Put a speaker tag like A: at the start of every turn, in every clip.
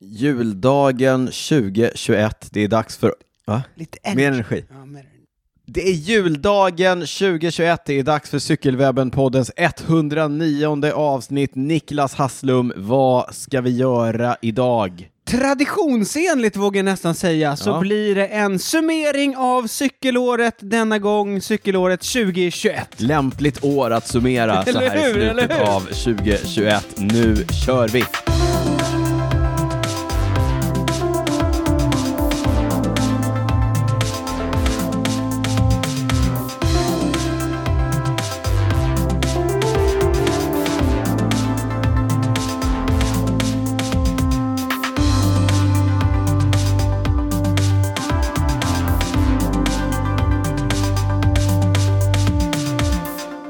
A: Juldagen 2021, det är dags för... Va?
B: Lite
A: Mer energi.
B: Ja, mer energi.
A: Det är juldagen 2021, det är dags för Cykelwebben-poddens 109 avsnitt. Niklas Hasslum, vad ska vi göra idag?
B: Traditionsenligt vågar jag nästan säga så
A: Ja.
B: blir det en summering av cykelåret denna gång, cykelåret 2021.
A: Lämpligt år att summera så
B: Eller
A: här
B: hur,
A: i
B: eller
A: slutet
B: hur?
A: av 2021. Nu kör vi!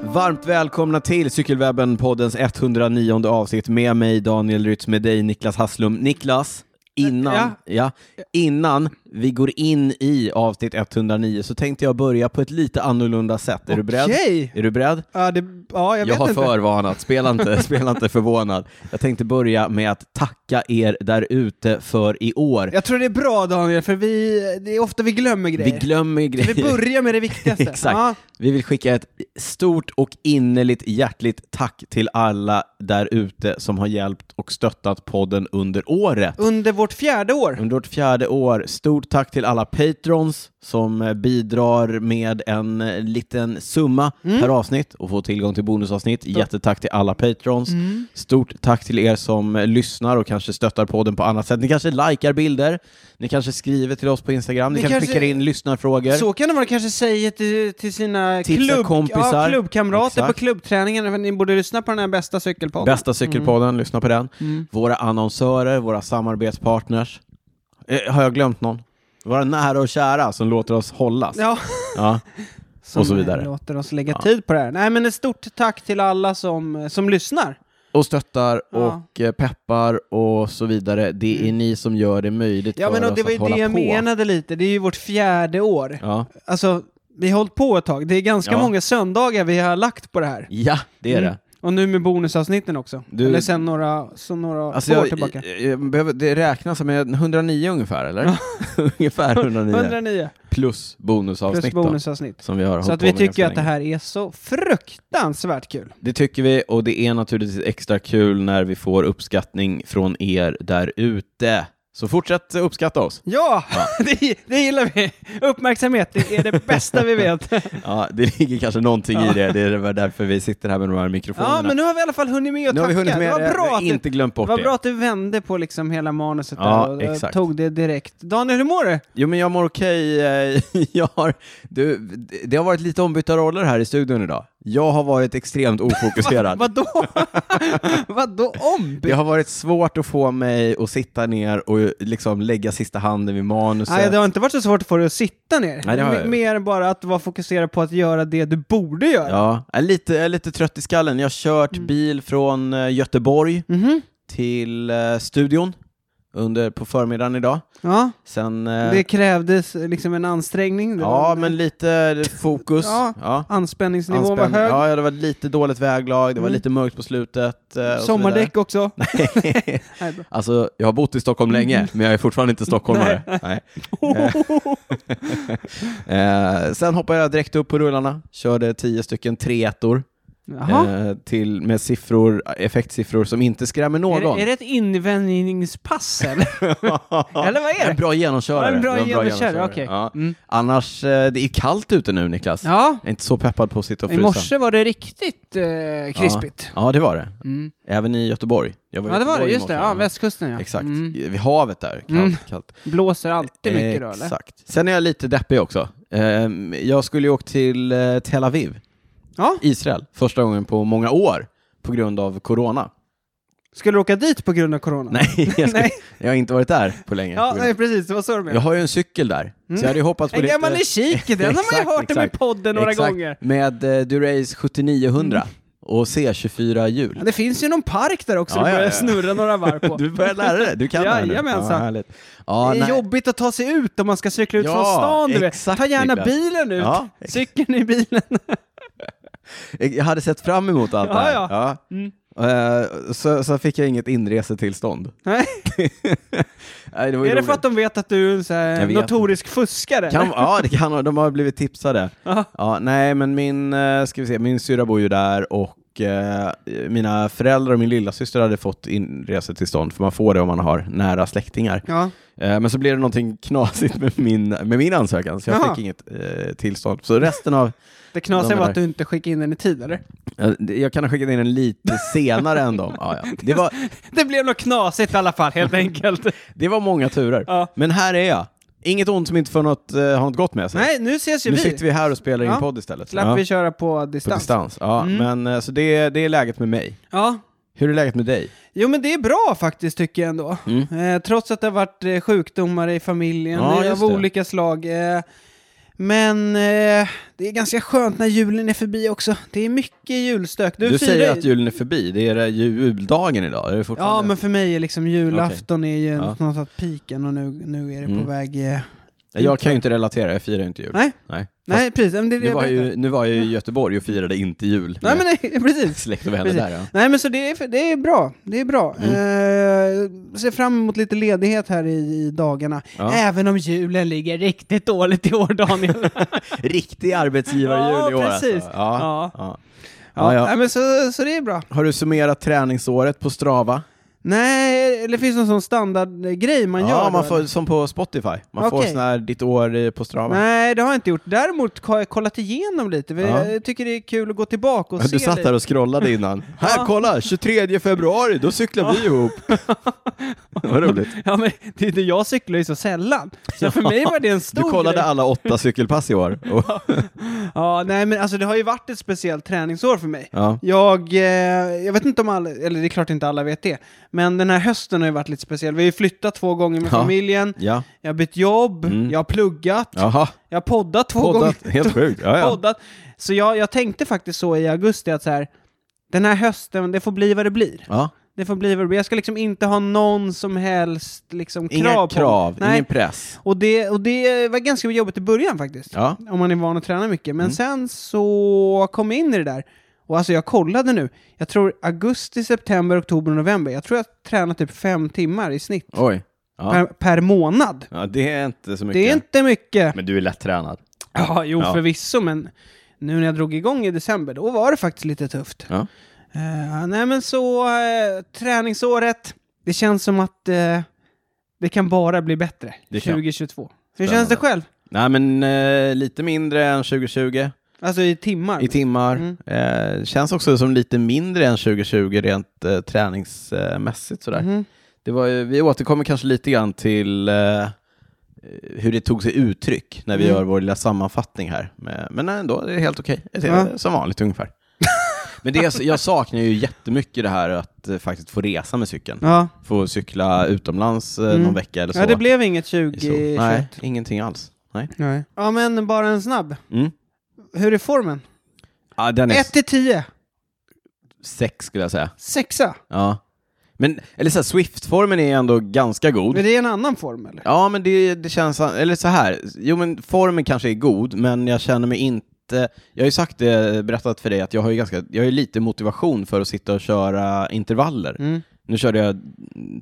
A: Varmt välkomna till Cykelwebben-poddens 109 avsnitt med mig Daniel Rytz, med dig Niklas Hasslum. Niklas, innan, ja.
B: Ja.
A: innan vi går in i avsnitt 109 så tänkte jag börja på ett lite annorlunda sätt. Är du beredd?
B: Okej.
A: Är du beredd?
B: Ja, det, ja jag,
A: Jag,
B: vet
A: har
B: inte.
A: förvarnat, spela inte, spela inte förvånad. Jag tänkte börja med att tacka er där ute för i år.
B: Jag tror det är bra Daniel, för vi, det är ofta vi glömmer
A: Vi
B: grejer.
A: glömmer grejer.
B: vi börjar med det viktigaste.
A: Exakt.
B: Ja.
A: Vi vill skicka ett stort och innerligt hjärtligt tack till alla där ute som har hjälpt och stöttat podden under året.
B: Under vårt fjärde år.
A: Under vårt fjärde år, stort tack till alla patrons som eh, bidrar med en eh, liten summa
B: Mm.
A: per avsnitt och får tillgång till bonusavsnitt. Jättetack till alla patrons.
B: Mm.
A: Stort tack till er som eh, lyssnar och kanske stöttar podden på annat sätt. Ni kanske likar bilder, ni kanske skriver till oss på Instagram, ni,
B: Ni
A: kanske,
B: kanske-
A: skickar in lyssnarfrågor.
B: Så kan det vara, kanske säger till, till sina
A: Tipsa
B: klubb,
A: kompisar.
B: ja, klubbkamrater
A: Exakt.
B: på klubbträningen, för ni borde lyssna på den här bästa cykelpodden.
A: Bästa cykelpodden, lyssna på den. Våra annonsörer, våra samarbetspartners. Eh, har jag glömt någon? Våra nära och kära som låter oss hållas.
B: Ja.
A: Ja.
B: Som
A: Och så vidare.
B: eh, låter oss lägga tid på det här. Nej men ett stort tack till alla som, eh, som lyssnar.
A: Och stöttar
B: Ja. Mm.
A: och eh, peppar och så vidare. Det är ni som gör det möjligt
B: Ja
A: för
B: men och
A: oss
B: det var
A: att
B: ju
A: hålla
B: det jag
A: på.
B: menade lite, det är ju vårt fjärde år.
A: Ja.
B: Alltså, vi har hållit på ett tag. Det är ganska
A: Ja.
B: många söndagar vi har lagt på det här.
A: ja, det är
B: Mm.
A: det.
B: Och nu med bonusavsnitten också.
A: Du-
B: Eller sen några, så några
A: Alltså
B: år
A: jag,
B: tillbaka.
A: jag, jag behöver, det räknas som en 109 ungefär, eller? ungefär 109.
B: 109
A: Plus bonusavsnitt
B: plus
A: då,
B: bonusavsnitt.
A: som vi har hållit
B: Så att
A: på
B: vi
A: med
B: tycker
A: ganska
B: att det
A: länge.
B: här är så fruktansvärt kul.
A: Det tycker vi och det är naturligtvis extra kul när vi får uppskattning från er där ute. Så fortsätt uppskatta oss.
B: Ja, det, det gillar vi. Uppmärksamhet, det är det bästa vi vet.
A: Ja, det ligger kanske någonting i det. Det är väl därför vi sitter här med de här mikrofonerna.
B: Ja, men nu har vi i alla fall hunnit med att
A: nu har vi
B: tacka.
A: hunnit med
B: det var
A: Vi
B: bra
A: har
B: att du,
A: inte glömt bort
B: vad
A: det.
B: bra att du vände på liksom hela manuset
A: Ja,
B: där och
A: exakt.
B: eh, tog det direkt. Daniel, hur mår du?
A: Jo, men jag mår okej. Eh, Jag har, du, det har varit lite ombytta roller här i studion idag. Jag har varit extremt ofokuserad.
B: Vadå? Vadå
A: Det
B: ombytt?
A: har varit svårt att få mig att sitta ner och liksom lägga sista handen vid manuset.
B: Nej, det har inte varit så svårt för dig att sitta ner.
A: Nej, det har jag
B: M-
A: ju.
B: Mer bara att vara fokuserad på att göra det du borde göra.
A: Ja, jag är lite, jag är lite trött i skallen. Jag har kört
B: Mm.
A: bil från eh, Göteborg
B: Mhm.
A: till eh, studion under, på förmiddagen idag.
B: ja.
A: Sen, eh,
B: Det krävdes eh, liksom en ansträngning. Det var
A: ja,
B: en-
A: men lite eh, fokus.
B: Ja,
A: ja.
B: Anspänningsnivån
A: Anspänning.
B: var hög.
A: Ja, det var lite dåligt väglag, det var
B: Mm.
A: lite mörkt på slutet. eh, och så
B: Sommardäck också.
A: vidare.
B: Nej, bra.
A: alltså, jag har bott i Stockholm
B: Mm.
A: länge, men jag är fortfarande inte stockholmare. Nej. Eh, sen hoppade jag direkt upp på rullarna, körde tio stycken 3
B: Jaha.
A: eh, till med siffror, effektsiffror som inte skrämmer någon.
B: Är det, är det ett invänjningspass eller? eller vad är
A: En
B: det?
A: bra genomkörare.
B: Ja, en bra
A: Det var
B: genomkörare, okej.
A: Ja.
B: Mm.
A: Annars, eh, det är kallt ute nu Niklas.
B: Ja,
A: Jag är inte så peppad på att sitta och
B: i
A: frysa.
B: morse var det riktigt eh, krispigt.
A: Ja, det var det.
B: Mm.
A: Även i Göteborg. Jag var i
B: Ja, det var
A: Göteborg
B: det.
A: i
B: Just det.
A: morse.
B: Ja, västkusten ja.
A: Exakt.
B: Mm.
A: Vid havet där. Kallt,
B: Mm.
A: kallt.
B: Blåser alltid mycket då eller?
A: Exakt. Sen är jag lite deppig också. Ehm, Jag skulle ju åka till eh, Tel Aviv,
B: Ja.
A: Israel, första gången på många år på grund av corona.
B: Skulle du åka dit på grund av corona?
A: Nej, jag, skulle,
B: Nej.
A: jag har inte varit där på länge.
B: Ja, nej, precis. Det var så du
A: jag
B: menade.
A: har ju en cykel där, så jag hade ju hoppats på
B: En
A: lite...
B: gammal kik, den har man
A: Exakt,
B: ju hört om i
A: exakt.
B: podden några
A: Exakt.
B: gånger. Mm.
A: Med eh, Durace 7900 och C24 hjul.
B: Men det finns ju någon park där också
A: Ja,
B: du
A: ja,
B: börjar
A: ja.
B: snurra några varv på.
A: Du börjar lära dig, du kan det här nu.
B: Jajamensan.
A: Ja, härligt. Ja,
B: det är
A: nej.
B: jobbigt att ta sig ut om man ska cykla ut
A: Ja,
B: från stan, du
A: exakt,
B: vet. Ta gärna
A: Niklas.
B: bilen ut,
A: Ja,
B: cykeln i bilen.
A: Eh, Jag hade sett fram emot allt det
B: Ja,
A: här.
B: ja.
A: Ja.
B: Mm.
A: Eh, så, så fick jag inget inresetillstånd.
B: Nej.
A: Nej, det var ju
B: Är det för
A: roligt.
B: att de vet att du är en så här
A: Jag vet
B: notorisk fuskare?
A: Kan, ja, det kan, ha- de har blivit tipsade.
B: Ja.
A: Ja, nej, men min, eh, ska vi se, min syrra bor ju där och eh, mina föräldrar och min lilla syster hade fått inresetillstånd, för man får det om man har nära släktingar.
B: Ja.
A: Eh, men så blev det någonting knasigt med min, med min ansökan, så jag
B: Jaha.
A: fick inget eh, tillstånd. Så resten av,
B: Det knasiga
A: De är
B: var att
A: där.
B: du inte skickade in den i tid, eller?
A: eh, jag kan ha skickat in den lite senare än dem. Ja, ja. Det, var,
B: Det blev något knasigt i alla fall, helt enkelt.
A: det var många turer.
B: Ja.
A: Men här är jag. Inget ont som inte för något, eh, har något gott med sig.
B: Nej, nu ses ju
A: nu
B: vi.
A: sitter vi här och spelar in
B: Ja.
A: podd istället.
B: Slapp
A: Ja.
B: vi köra på
A: På
B: distans. Mm.
A: distans. Ja, men eh, så det, det är läget med mig.
B: Ja.
A: Hur är läget med dig?
B: Jo, men det är bra faktiskt, tycker jag ändå.
A: Mm.
B: Eh, trots att det har varit eh, sjukdomar i familjen
A: Ja,
B: eh,
A: just
B: av
A: det.
B: olika slag. Eh, men eh, det är ganska skönt när julen är förbi också. Det är mycket julstök. Du,
A: Du,
B: firar
A: säger
B: ju-
A: att julen är förbi, det är det juldagen idag, är det
B: Ja,
A: fortfarande?
B: men för mig är liksom julafton är ju
A: Ja.
B: någonstans piken och nu, nu är det på
A: Mm.
B: väg... Eh,
A: Jag kan ju inte relatera, jag firar ju inte jul.
B: Nej.
A: Nej.
B: nej, precis. Men det är det
A: Nu,
B: jag
A: var jag
B: berättar.
A: ju, nu var jag ju i Göteborg och firade inte jul
B: Nej,
A: med
B: men nej, precis.
A: släkt och vänner
B: Precis.
A: där. Ja.
B: Nej men så det är, det är bra, det är bra.
A: Mm.
B: Eh, ser fram emot lite ledighet här i, i dagarna.
A: Ja.
B: Även om julen ligger riktigt dåligt i år Daniel.
A: Riktig arbetsgivarjul
B: Ja,
A: i år
B: precis.
A: Alltså. Ja,
B: ja.
A: ja.
B: Ja,
A: Ja, ja.
B: Nej, men så, så det är bra.
A: Har du summerat träningsåret på Strava?
B: Nej, eller finns det någon sån standardgrej man gör?
A: ja,
B: då,
A: man får,
B: eller?
A: som på Spotify. Man får
B: Okej.
A: sån här ditt år eh, på Strava.
B: Nej, det har jag inte gjort. Däremot har jag kollat igenom lite. för
A: Ja.
B: Jag tycker det är kul att gå tillbaka och
A: Du
B: se
A: satt
B: lite.
A: där och scrollade innan. Här, kolla! 23 februari, då cyklar vi ihop. Vad roligt.
B: Ja, men det, det, jag cyklar ju så sällan. Så för mig var det en stor
A: Du kollade
B: grej.
A: alla åtta cykelpass i år. Och,
B: Ja, nej, men alltså det har ju varit ett speciellt träningsår för mig.
A: ja.
B: Jag, eh, jag vet inte om alla, eller det är klart inte alla vet det, men den här hösten har ju varit lite speciell. Vi har ju flyttat två gånger med
A: Ja.
B: familjen,
A: ja.
B: jag har bytt jobb,
A: Mm.
B: jag har pluggat,
A: Jaha,
B: jag har poddat två gånger.
A: poddat. Helt sjukt. Ja, ja.
B: Poddat. Så jag, jag tänkte faktiskt så i augusti att så här, den här hösten, det får bli vad det blir.
A: ja.
B: Det får bli vad det blir. Jag ska liksom inte ha någon som helst liksom,
A: Inga
B: krav
A: krav,
B: på mig. Nej.
A: ingen press.
B: Och, det, och det var ganska jobbigt i början faktiskt.
A: Ja.
B: Om man är van att träna mycket.
A: Mm.
B: Men sen så kom jag in i det där. Och alltså jag kollade nu. Jag tror augusti, september, oktober, november. Jag tror jag tränat typ fem timmar i snitt
A: Oj. Ja.
B: per, per månad.
A: ja, det är inte så mycket.
B: Det är inte mycket.
A: Men du är lättränad.
B: Ja, jo
A: Ja.
B: förvisso, men nu när jag drog igång i december, då var det faktiskt lite tufft.
A: Ja.
B: Eh, nej men så, eh, träningsåret. Det känns som att eh, det kan bara bli bättre
A: Det kan.
B: 2022. Hur
A: Spännande.
B: känns det själv?
A: Nej, men eh, lite mindre än 2020
B: Alltså i timmar?
A: i timmar.
B: Mm.
A: Eh, känns också som lite mindre än 2020 rent eh, träningsmässigt. Sådär.
B: Mhm.
A: Det var, ju- vi återkommer kanske lite grann till eh, hur det tog sig uttryck när vi
B: Mm.
A: gör vår lilla sammanfattning här. Men, men ändå, det är helt okej. Det är
B: Ja.
A: Som vanligt ungefär. men det, är så- jag saknar ju jättemycket det här att eh, faktiskt få resa med cykeln.
B: Ja.
A: Få cykla utomlands eh,
B: Mm.
A: någon vecka eller så.
B: ja, det blev inget
A: Så. Nej,
B: 2021.
A: ingenting alls. Nej.
B: Nej. Ja, men bara en snabb.
A: Mm.
B: Hur är formen?
A: Ja, den är
B: 1 till 10.
A: sex skulle jag säga.
B: Sexa.
A: Ja. Men, eller så här, Swift-formen är ändå ganska god.
B: Men det är en annan form, eller?
A: Ja, men det, det känns... Eller så här. Jo, men formen kanske är god, men jag känner mig inte... Jag har ju sagt det, berättat för dig, att jag har ju ganska... Jag har ju lite motivation för att sitta och köra intervaller.
B: Mm.
A: Nu körde jag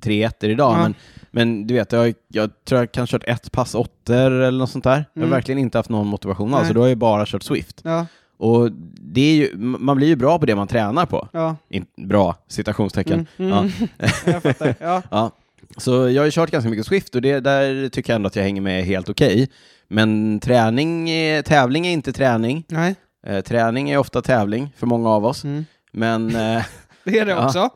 A: tre ettor idag,
B: Ja.
A: men, men du vet, jag, har- jag tror jag kan ha kört ett pass åttor eller något sånt där. Jag har
B: Mm.
A: verkligen inte haft någon motivation alls,
B: Nej.
A: så då har jag ju bara kört Swift.
B: Ja,
A: Och det är ju, man blir ju bra på det man tränar på.
B: ja.
A: In, bra, citationstecken.
B: Mm. Mm.
A: Ja.
B: jag fattar. Ja.
A: Ja, så jag har ju kört ganska mycket Swift och det, där tycker jag ändå att jag hänger med helt okej. Men träning, är- tävling är inte träning.
B: Nej.
A: Eh, träning är ofta tävling för många av oss.
B: Mm.
A: Men eh,
B: Det är det
A: Ja.
B: också.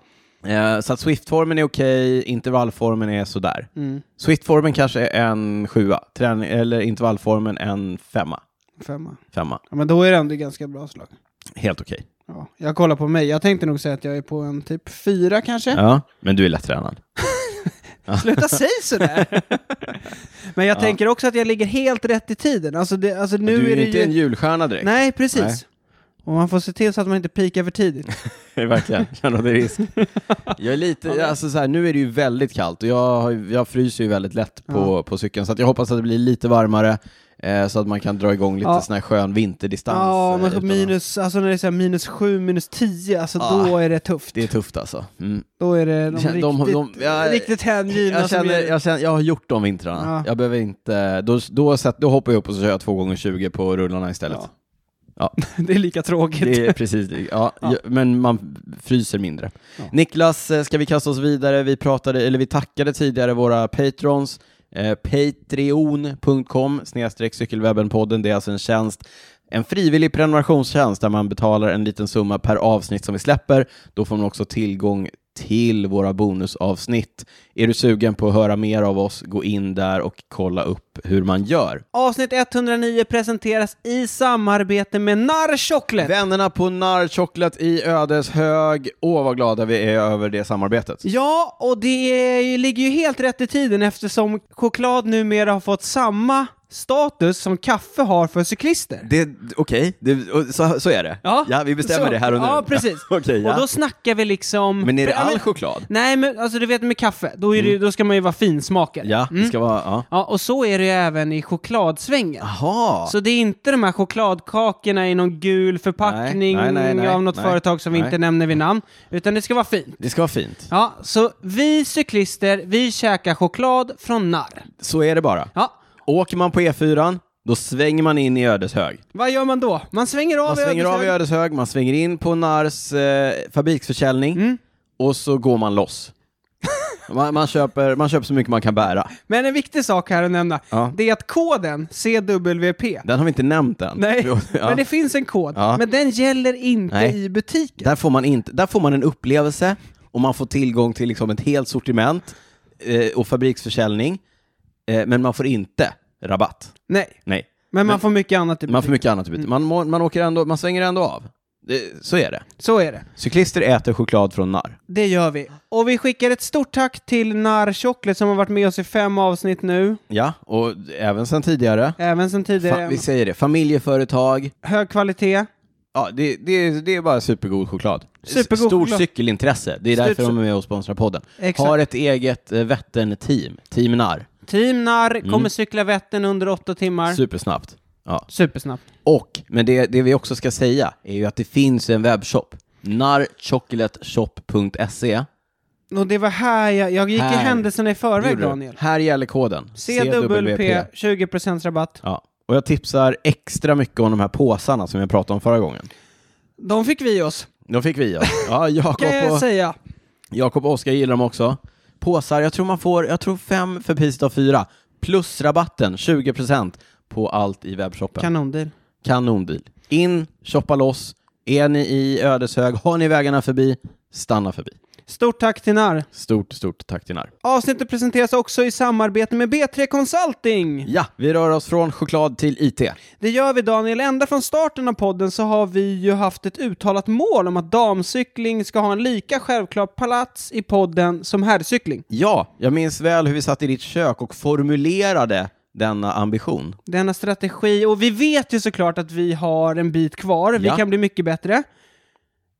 A: eh, så att Swift-formen är okej, intervallformen är sådär.
B: Mm.
A: Swift-formen kanske är en sjua, träning, eller intervallformen en femma.
B: Femma.
A: Femma,
B: Ja, men då är det ändå ganska bra slag.
A: helt okej.
B: Ja. Jag kollar på mig. Jag tänkte nog säga att jag är på en typ fyra kanske.
A: Ja, men du är lättränad.
B: Sluta säga sådär! men jag
A: Ja.
B: tänker också att jag ligger helt rätt i tiden. Alltså, det, alltså nu
A: du är,
B: är det
A: inte
B: ju...
A: en julstjärna direkt.
B: Nej, precis.
A: Nej.
B: Och man får se till så att man inte pikar för tidigt.
A: Verkligen, jag nådde risk. Jag är lite, alltså så här, nu är det ju väldigt kallt och jag, har ju- jag fryser ju väldigt lätt på, på cykeln så att jag hoppas att det blir lite varmare. Eh, så att man kan dra igång lite
B: Ja.
A: sån här skön vinterdistans.
B: Ja,
A: eh,
B: men
A: utan att-
B: minus, alltså när det är så här minus sju, minus tio, alltså
A: Ja.
B: då är det tufft.
A: Det är tufft alltså. Mm.
B: Då är det de riktigt,
A: De- de- jag-
B: riktigt
A: Jag,
B: hängivna som
A: känner,
B: är...
A: jag, känner, jag har gjort de vintrarna.
B: Ja.
A: Jag behöver inte... Då, då, sätt, då hoppar jag upp och så kör jag 2 gånger 20 på rullarna istället.
B: Ja.
A: Ja.
B: Det är lika tråkigt.
A: Det är precis, ja,
B: Ja.
A: ju- men man fryser mindre.
B: Ja.
A: Niklas, eh, ska vi kasta oss vidare? Vi pratade, eller vi tackade tidigare våra patrons. Eh, Patreon.com snedstreck cykelwebbenpodden, det är alltså en tjänst en frivillig prenumerationstjänst där man betalar en liten summa per avsnitt som vi släpper. Då får man också tillgång till våra bonusavsnitt. Är du sugen på att höra mer av oss, gå in där och kolla upp hur man gör.
B: Avsnitt 109 presenteras i samarbete med Narr Chocolate.
A: Vännerna på Narr Chocolate i Ödeshög. Åh, vad glada vi är över det samarbetet.
B: Ja, och det är, ju- ligger ju helt rätt i tiden eftersom choklad numera har fått samma status som kaffe har för cyklister.
A: Det, okej, det- och så, så är det. vi bestämmer
B: så-
A: det här och nu.
B: Ja, precis.
A: Okej, ja.
B: Och då snackar vi liksom...
A: Men är det
B: Ja,
A: all choklad? Mm.
B: Nej, men alltså du vet med kaffe, då, är det, ju- då ska man ju vara finsmakare. Mm.
A: Ja, det ska vara... Ja.
B: Ja, och så är det ju även i chokladsvängen.
A: Jaha!
B: Så det är inte de här chokladkakorna i någon gul förpackning
A: Nej, nej, nej, nej,
B: av något
A: nej,
B: företag som vi
A: nej.
B: inte nämner vid namn, utan det ska vara fint.
A: Det ska vara fint.
B: Ja, så vi cyklister, vi käkar choklad från narr.
A: Så är det bara.
B: Ja,
A: Åker man på E4, då svänger man in i Ödeshög.
B: vad gör man då? Man svänger av
A: Man svänger av i
B: Ödeshög.
A: Ödeshög, man svänger in på Nars eh, fabriksförsäljning
B: Mm.
A: och så går man loss. man, man, köper, man köper så mycket man kan bära.
B: Men en viktig sak här att nämna,
A: Ja.
B: det är att koden CWP,
A: Den har vi inte nämnt än.
B: nej,
A: ja.
B: men det finns en kod,
A: Ja.
B: men den gäller inte
A: Nej.
B: i butiken.
A: Där får man, inte, där får man en upplevelse och man får tillgång till liksom ett helt sortiment eh, och fabriksförsäljning. Eh, men man får inte rabatt.
B: Nej,
A: Nej,
B: men man får mycket annat i
A: man får
B: butiken.
A: mycket annat i byte. Man, må- man, åker ändå, man svänger ändå av. Det, så är det.
B: Så är det.
A: Cyklister äter choklad från narr.
B: Det gör vi. Och vi skickar ett stort tack till Narr Chocolate som har varit med oss i fem avsnitt nu,
A: Ja, och även sen tidigare.
B: även sedan
A: Fa-
B: tidigare.
A: vi säger det, familjeföretag.
B: Hög kvalitet.
A: Ja, det, det, är- det är bara supergod choklad. S-
B: Supergod
A: Stort
B: choklad.
A: cykelintresse. Det är
B: Stort
A: därför
B: cy-
A: de är med och sponsrar podden.
B: Exakt.
A: Har ett eget eh, Vättern-team, Team Narr.
B: Team Narr
A: Mm.
B: kommer cykla Vättern under åtta timmar.
A: Supersnabbt. Ja.
B: Supersnabbt.
A: Och, men det, det vi också ska säga är ju att det finns en webbshop, narchocolateshop.se.
B: Och det var här jag, jag gick i
A: Här.
B: händelserna i förväg,
A: Gjorde du?
B: Daniel.
A: Här gäller koden.
B: CWP, 20% rabatt.
A: Ja. Och jag tipsar extra mycket om de här påsarna som jag pratade om förra gången.
B: De fick vi oss,
A: De fick vi ja. ja Jakob,
B: kan jag
A: och,
B: säga.
A: Jakob och Oskar gillar dem också. Påsar, jag tror man får, jag tror fem för priset av fyra. Plus rabatten, 20% på allt i webbshoppen.
B: Kanondeal.
A: Kanondeal. In, shoppa loss. Är ni i Ödeshög, har ni vägarna förbi, stanna förbi.
B: Stort tack till Narr.
A: Stort, stort tack till Nar.
B: Avsnittet presenteras också i samarbete med B3 Consulting.
A: Ja, vi rör oss från choklad till IT.
B: Det gör vi Daniel. Ända från starten av podden så har vi ju haft ett uttalat mål om att damcykling ska ha en lika självklar plats i podden som herrcykling.
A: Ja, jag minns väl hur vi satt i ditt kök och formulerade denna ambition.
B: Denna strategi, och vi vet ju såklart att vi har en bit kvar, vi
A: Ja.
B: kan bli mycket bättre.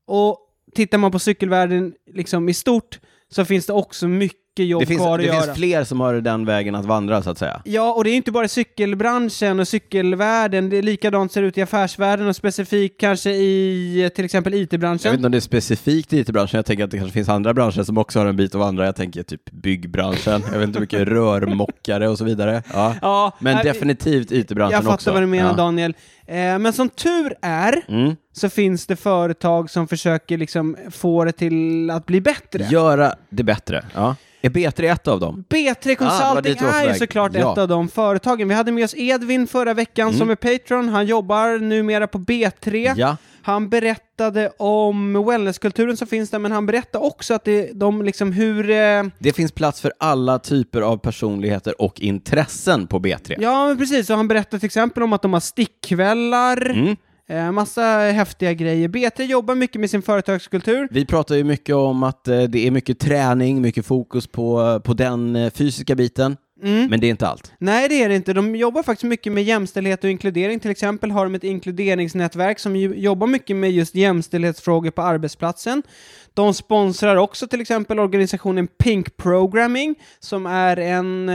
B: Och tittar man på cykelvärlden liksom i stort så finns det också mycket jobb
A: Det finns,
B: kvar att
A: det
B: göra.
A: finns fler som har den vägen att vandra, så att säga.
B: Ja, och det är inte bara i cykelbranschen och cykelvärlden, det är likadant ser det ut i affärsvärlden och specifikt kanske i eh, till exempel
A: Jag vet
B: IT-branschen.
A: inte om det är specifikt i IT-branschen, jag tänker att det kanske finns andra branscher som också har en bit att vandra. Jag tänker typ byggbranschen, jag vet inte hur mycket rörmockare och så vidare. Ja.
B: Ja,
A: Men
B: nej,
A: definitivt
B: Jag
A: IT-branschen
B: fattar
A: också.
B: vad du menar
A: ja.
B: Daniel. Eh, men som tur är
A: Mm.
B: så finns det företag som försöker liksom få det till att bli bättre.
A: Göra det bättre. Ja. Är B3 ett av dem?
B: B3
A: Ah, det var
B: Consulting
A: dit du var på
B: är ju
A: väg.
B: såklart
A: Ja. Mm.
B: ett av de företagen. Vi hade med oss Edvin förra veckan som är Patreon. Han jobbar numera på B3.
A: Ja.
B: Han berättade om wellnesskulturen som finns där, men han berättade också att det, de liksom hur... Eh,
A: Det finns plats för alla typer av personligheter och intressen på B3.
B: ja, men precis. Och han berättade till exempel om att de har stickkvällar,
A: Mm.
B: eh, massa häftiga grejer. B3 jobbar mycket med sin företagskultur.
A: Vi pratar ju mycket om att eh, det är mycket träning, mycket fokus på, på den eh, fysiska biten, men det är inte allt.
B: Nej, det är det inte. De jobbar faktiskt mycket med jämställdhet och inkludering. Till exempel har de ett inkluderingsnätverk som ju jobbar mycket med just jämställdhetsfrågor på arbetsplatsen. De sponsrar också till exempel organisationen Pink Programming som är en, eh,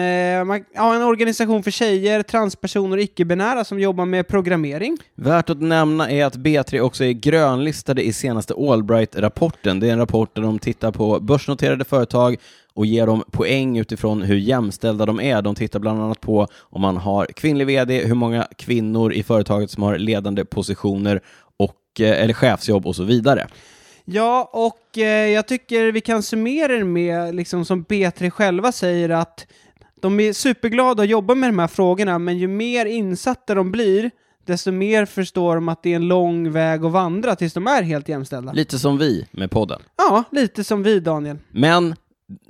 B: ma- ja, en organisation för tjejer, transpersoner och icke-binära som jobbar med programmering.
A: Värt att nämna är att B3 också är grönlistade i senaste Allbright-rapporten. Det är en rapport där de tittar på börsnoterade företag och ger dem poäng utifrån hur jämställda de är. De tittar bland annat på om man har kvinnlig vd, hur många kvinnor i företaget som har ledande positioner och, eh, eller chefsjobb och så vidare.
B: Ja, och eh, jag tycker vi kan summera det med, liksom som B3 själva säger, att de är superglada att jobba med de här frågorna, men ju mer insatta de blir, desto mer förstår de att det är en lång väg att vandra tills de är helt jämställda.
A: Lite som vi med podden.
B: Ja, lite som vi, Daniel.
A: Men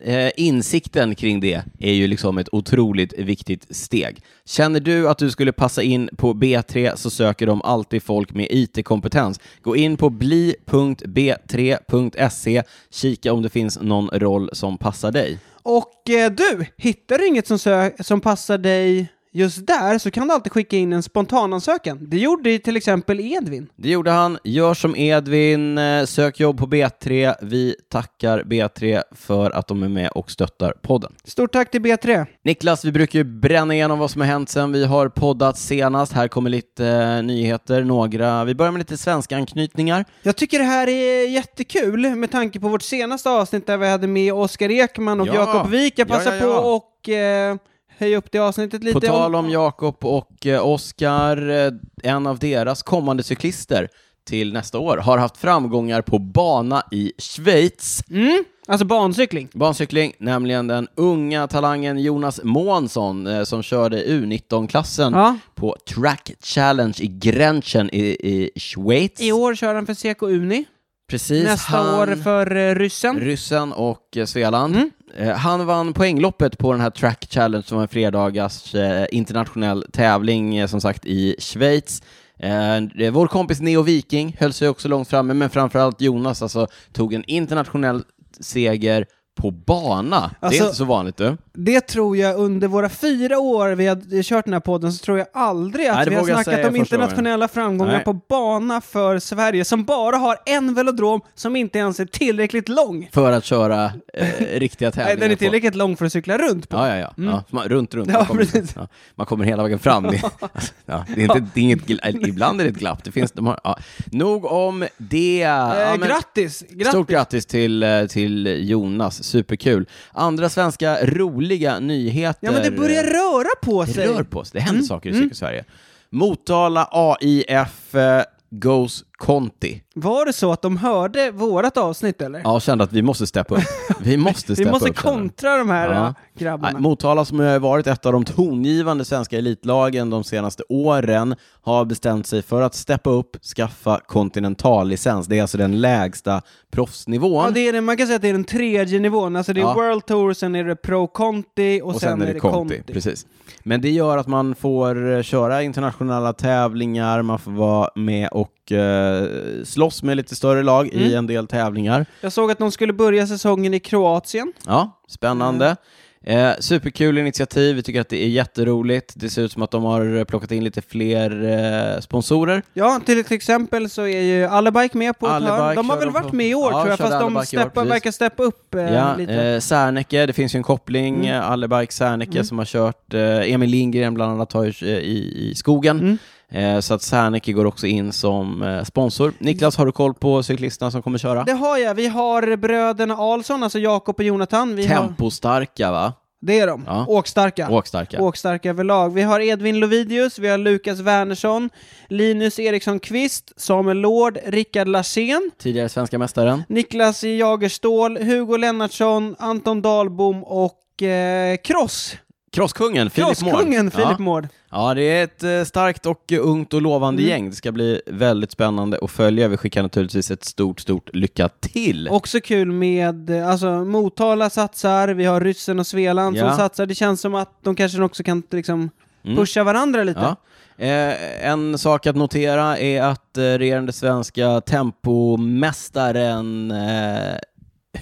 A: eh, insikten kring det är ju liksom ett otroligt viktigt steg. Känner du att du skulle passa in på B3 så söker de alltid folk med IT-kompetens. Gå in på bli.b3.se, E, kika om det finns någon roll som passar dig.
B: Och eh, du, hittar du inget som, sö- som passar dig just där så kan du alltid skicka in en spontanansökan. Det gjorde ju till exempel Edvin.
A: Det gjorde han. Gör som Edvin, eh, sök jobb på B3. Vi tackar B3 för att de är med och stöttar podden.
B: Stort tack till B3.
A: Niklas, vi brukar ju bränna igenom vad som har hänt sen vi har poddat senast. Här kommer lite eh, nyheter, några. Vi börjar med lite svenska anknytningar.
B: Jag tycker det här är jättekul med tanke på vårt senaste avsnitt där vi hade med Oskar Ekman och
A: Ja.
B: Jakob Wik. Jag
A: Ja,
B: passar
A: ja, ja.
B: på och eh, höja upp det avsnittet lite.
A: På tal om Jakob och eh, Oskar, eh, en av deras kommande cyklister till nästa år, har haft framgångar på bana i Schweiz.
B: Mm, alltså bancykling.
A: Bancykling, nämligen den unga talangen Jonas Månsson eh, som körde U19-klassen
B: Ja.
A: på Track Challenge i Grenchen i, i Schweiz.
B: I år kör han för Seko Uni,
A: Precis,
B: nästa
A: han-
B: år för eh, ryssen. Mm.
A: Ryssen och eh, Svealand. Eh, Han vann poängloppet på den här Track Challenge som var en fredagars eh, internationell tävling eh, som sagt i Schweiz. Eh, det- Vår kompis Neo Viking höll sig också långt framme, men framförallt Jonas alltså, tog en internationell seger på bana. det
B: Alltså-
A: är inte så vanligt du.
B: Det tror jag under våra fyra år vi har kört den här podden så tror jag aldrig att
A: Nej, det
B: vi har
A: vågar jag
B: snackat
A: säga
B: om
A: första
B: internationella framgångar
A: Nej.
B: på bana för Sverige som bara har en velodrom som inte ens är tillräckligt lång.
A: För att köra eh, riktiga tävlingar.
B: Nej, den är
A: på-
B: tillräckligt lång för att cykla runt på. Mm.
A: Ja, ja, ja. ja. Man, runt, runt.
B: Ja,
A: man, kommer,
B: precis.
A: ja, man kommer hela vägen fram. Det, alltså, ja, det är inte, det är inget, gla- ibland är det ett glapp. Det finns, de har, ja. Nog om det. Ja,
B: eh,
A: men-
B: grattis! grattis.
A: Stort grattis till, eh, till Jonas, superkul. Andra svenska roliga nyheter.
B: Ja men det börjar röra på
A: eh, Det
B: sig. Mm.
A: rör på sig. Det händer saker i cykelsverige. Motala AIF eh, Goes Conti.
B: Var det så att de hörde vårat avsnitt eller?
A: Ja, kände att vi måste steppa upp. Vi måste
B: Vi
A: steppa
B: måste
A: upp. känner jag.
B: kontra de här
A: Ja.
B: äh, grabbarna.
A: Nej, Motala som har varit ett av de tongivande svenska elitlagen de senaste åren har bestämt sig för att steppa upp, skaffa kontinentallicens. Det är alltså den lägsta proffsnivån.
B: Ja, det är det, man kan säga att det är den tredje nivån, alltså det är
A: Ja.
B: World Tour, sen är det Pro Conti och,
A: och sen, är det Conti. Precis. Men det gör att man får eh, köra internationella tävlingar, man får vara med och eh, slåss med lite större lag
B: Mm.
A: i en del tävlingar.
B: Jag såg att de skulle börja säsongen i Kroatien.
A: Ja,
B: Mm.
A: spännande. Eh, superkul initiativ, vi tycker att det är jätteroligt. Det ser ut som att de har plockat in lite fler eh, sponsorer.
B: Ja, till, till exempel så är ju Allebike med på ett
A: Allebike
B: hörn. De har
A: kör
B: väl
A: de
B: varit
A: på-
B: med i år
A: Ja,
B: tror jag,
A: körde
B: fast de
A: Allebike i år,
B: steppa,
A: precis.
B: verkar steppa upp eh,
A: Ja,
B: lite.
A: eh, Serneke, det finns ju en koppling, mm. Allebike Serneke som har kört, eh, Emil Lindgren bland annat har ju eh, i, i
B: Mm.
A: skogen. Eh, så att Serneke går också in som eh, sponsor. Niklas, har du koll på cyklisterna som kommer köra?
B: Det har jag. Vi har bröderna Ahlsson, alltså Jakob och Jonathan. Vi har,
A: Tempostarka va?
B: det är de.
A: Ja.
B: Åkstarka.
A: Åkstarka.
B: åkstarka överlag. Vi har Edvin Lovidius, vi har Lukas Wernersson, Linus Eriksson Kvist, Samuel Lord, Rickard Larsén,
A: Tidigare svenska mästaren.
B: Niklas Jagerstål, Hugo Lennartsson, Anton Dahlbom och eh, Kross.
A: Crosskungen, Filip Mård.
B: Crosskungen Filip
A: ja.
B: Mård.
A: ja, det är ett eh, starkt och eh, ungt och lovande
B: Mm.
A: gäng. Det ska bli väldigt spännande att följa. Vi skickar naturligtvis ett stort, stort lycka till.
B: Också kul med, eh, alltså Motala satsar, vi har ryssen och Svealand
A: Ja.
B: som satsar. Det känns som att de kanske också kan liksom
A: Mm.
B: pusha varandra lite.
A: Ja. Eh, en sak att notera är att eh, regerande svenska tempomästaren eh,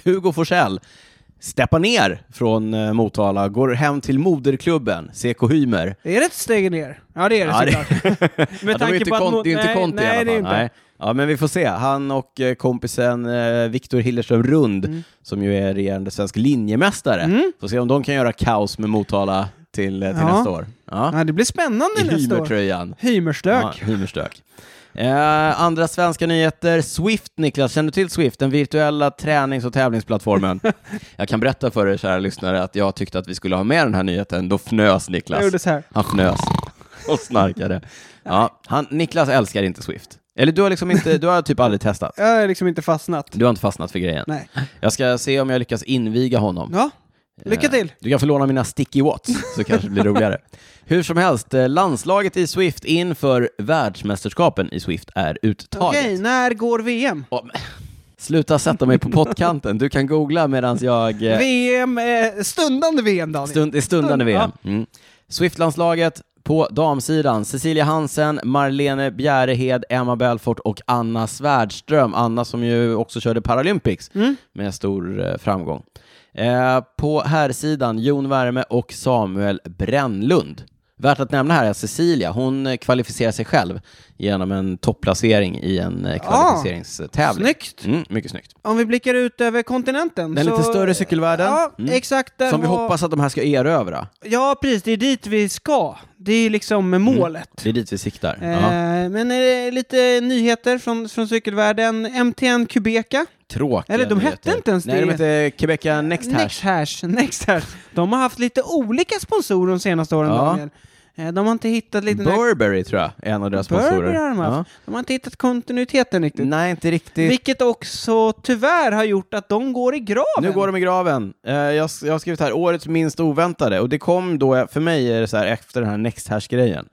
A: Hugo Forsell steppar ner från eh, Motala, går hem till moderklubben, CK Hymer.
B: Är det ett steg ner? Ja, det är det
A: Ja, det-
B: såklart.
A: Ja, de är ju inte
B: att
A: kon-
B: mot-
A: det är ju inte
B: nej,
A: Conte
B: nej,
A: i alla fall.
B: det är inte.
A: Nej. Ja, men vi får se. Han och eh, kompisen eh, Viktor Hillerström Rund,
B: Mm.
A: som ju är regerande svensk linjemästare, får se om de kan göra kaos med Motala till, eh, till
B: Ja.
A: nästa år. Ja.
B: Ja, det blir spännande
A: I
B: nästa år.
A: Hymertröjan.
B: Hymerstök.
A: Ja, Hymerstök. Eh, andra svenska nyheter. Swift, Niklas. Känner du till Swift? Den virtuella tränings och tävlingsplattformen. jag kan berätta för er, kära lyssnare, att jag tyckte att vi skulle ha med den här nyheten. Då fnös Niklas.
B: Jag gjorde så här.
A: Han fnös och snarkade. Ja, han, Niklas älskar inte Swift. Eller du har liksom inte, du har typ aldrig testat.
B: Jag har liksom inte fastnat.
A: Du har inte fastnat för grejen.
B: Nej.
A: Jag ska se om jag lyckas inviga honom.
B: Ja, lycka
A: Eh,
B: till.
A: Du kan få låna mina sticky watts, så kanske det blir roligare. Hur som helst, eh, landslaget i Swift inför världsmästerskapen i Swift är uttaget.
B: Okej, när går VM?
A: Åh, men- Sluta sätta mig på pottkanten, du kan googla medan jag... eh,
B: VM, eh, stundande VM Daniel.
A: Stund, det är stundande
B: Stund,
A: VM. Mm. Swiftlandslaget på damsidan, Cecilia Hansen, Marlene Bjärehed, Emma Belfort och Anna Svärdström. Anna som ju också körde Paralympics
B: Mm.
A: med stor eh, framgång. Eh, på herrsidan, Jon Värme och Samuel Brännlund. Värt att nämna här är att Cecilia, hon eh, kvalificerar sig själv genom en topplacering i en eh, kvalificeringstävling.
B: Ah, Snyggt.
A: Mm, mycket snyggt.
B: Om vi blickar ut över kontinenten.
A: Den
B: så...
A: lite större cykelvärlden.
B: Ja,
A: Mm.
B: exakt. Där
A: Som vi
B: har-
A: hoppas att de här ska erövra.
B: Ja, precis. Det är dit vi ska. Det är liksom målet.
A: Det är dit vi siktar. Mm. Ja.
B: Eh, men eh, lite nyheter från, från cykelvärlden. MTN Kubeka.
A: Tråkiga
B: Eller de hette
A: nyheter.
B: inte ens
A: Nej,
B: det.
A: de hette Quebeca Next Hash.
B: Next hash. Next hash. De har haft lite olika sponsorer de senaste åren,
A: Ja.
B: Daniel. Eh, de har inte hittat lite...
A: Burberry tror jag är en av deras sponsorer. Mm.
B: Burberry har de haft. De har inte hittat kontinuiteten
A: Ja.
B: riktigt.
A: Nej, inte riktigt.
B: Vilket också tyvärr har gjort att de går i graven.
A: Nu går de i graven. Eh, jag, jag har skrivit här, årets minst oväntade. Och det kom då, för mig är det så här, efter den här Next Hash-grejen.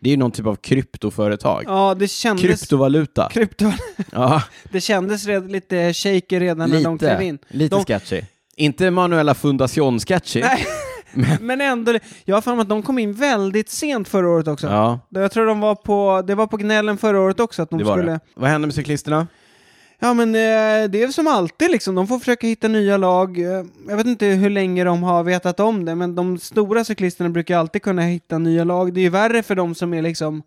A: Det är ju någon typ av kryptoföretag.
B: Ja, det kändes...
A: Kryptovaluta.
B: Krypto.
A: ja,
B: Det kändes red, lite shaky redan när de klev
A: lite.
B: in.
A: Lite
B: de,
A: sketchy. Inte Manuela Fundacion-sketchy.
B: Nej, men ändå. Jag har för mig att de kom in väldigt sent förra året också.
A: Ja,
B: Jag tror de var på, det var på gnällen förra året också att de
A: det var
B: skulle...
A: det. Vad hände med cyklisterna?
B: Ja men eh, det är som alltid liksom, de får försöka hitta nya lag. Eh, Jag vet inte hur länge de har vetat om det, men de stora cyklisterna brukar alltid kunna hitta nya lag. Det är ju värre för de som är liksom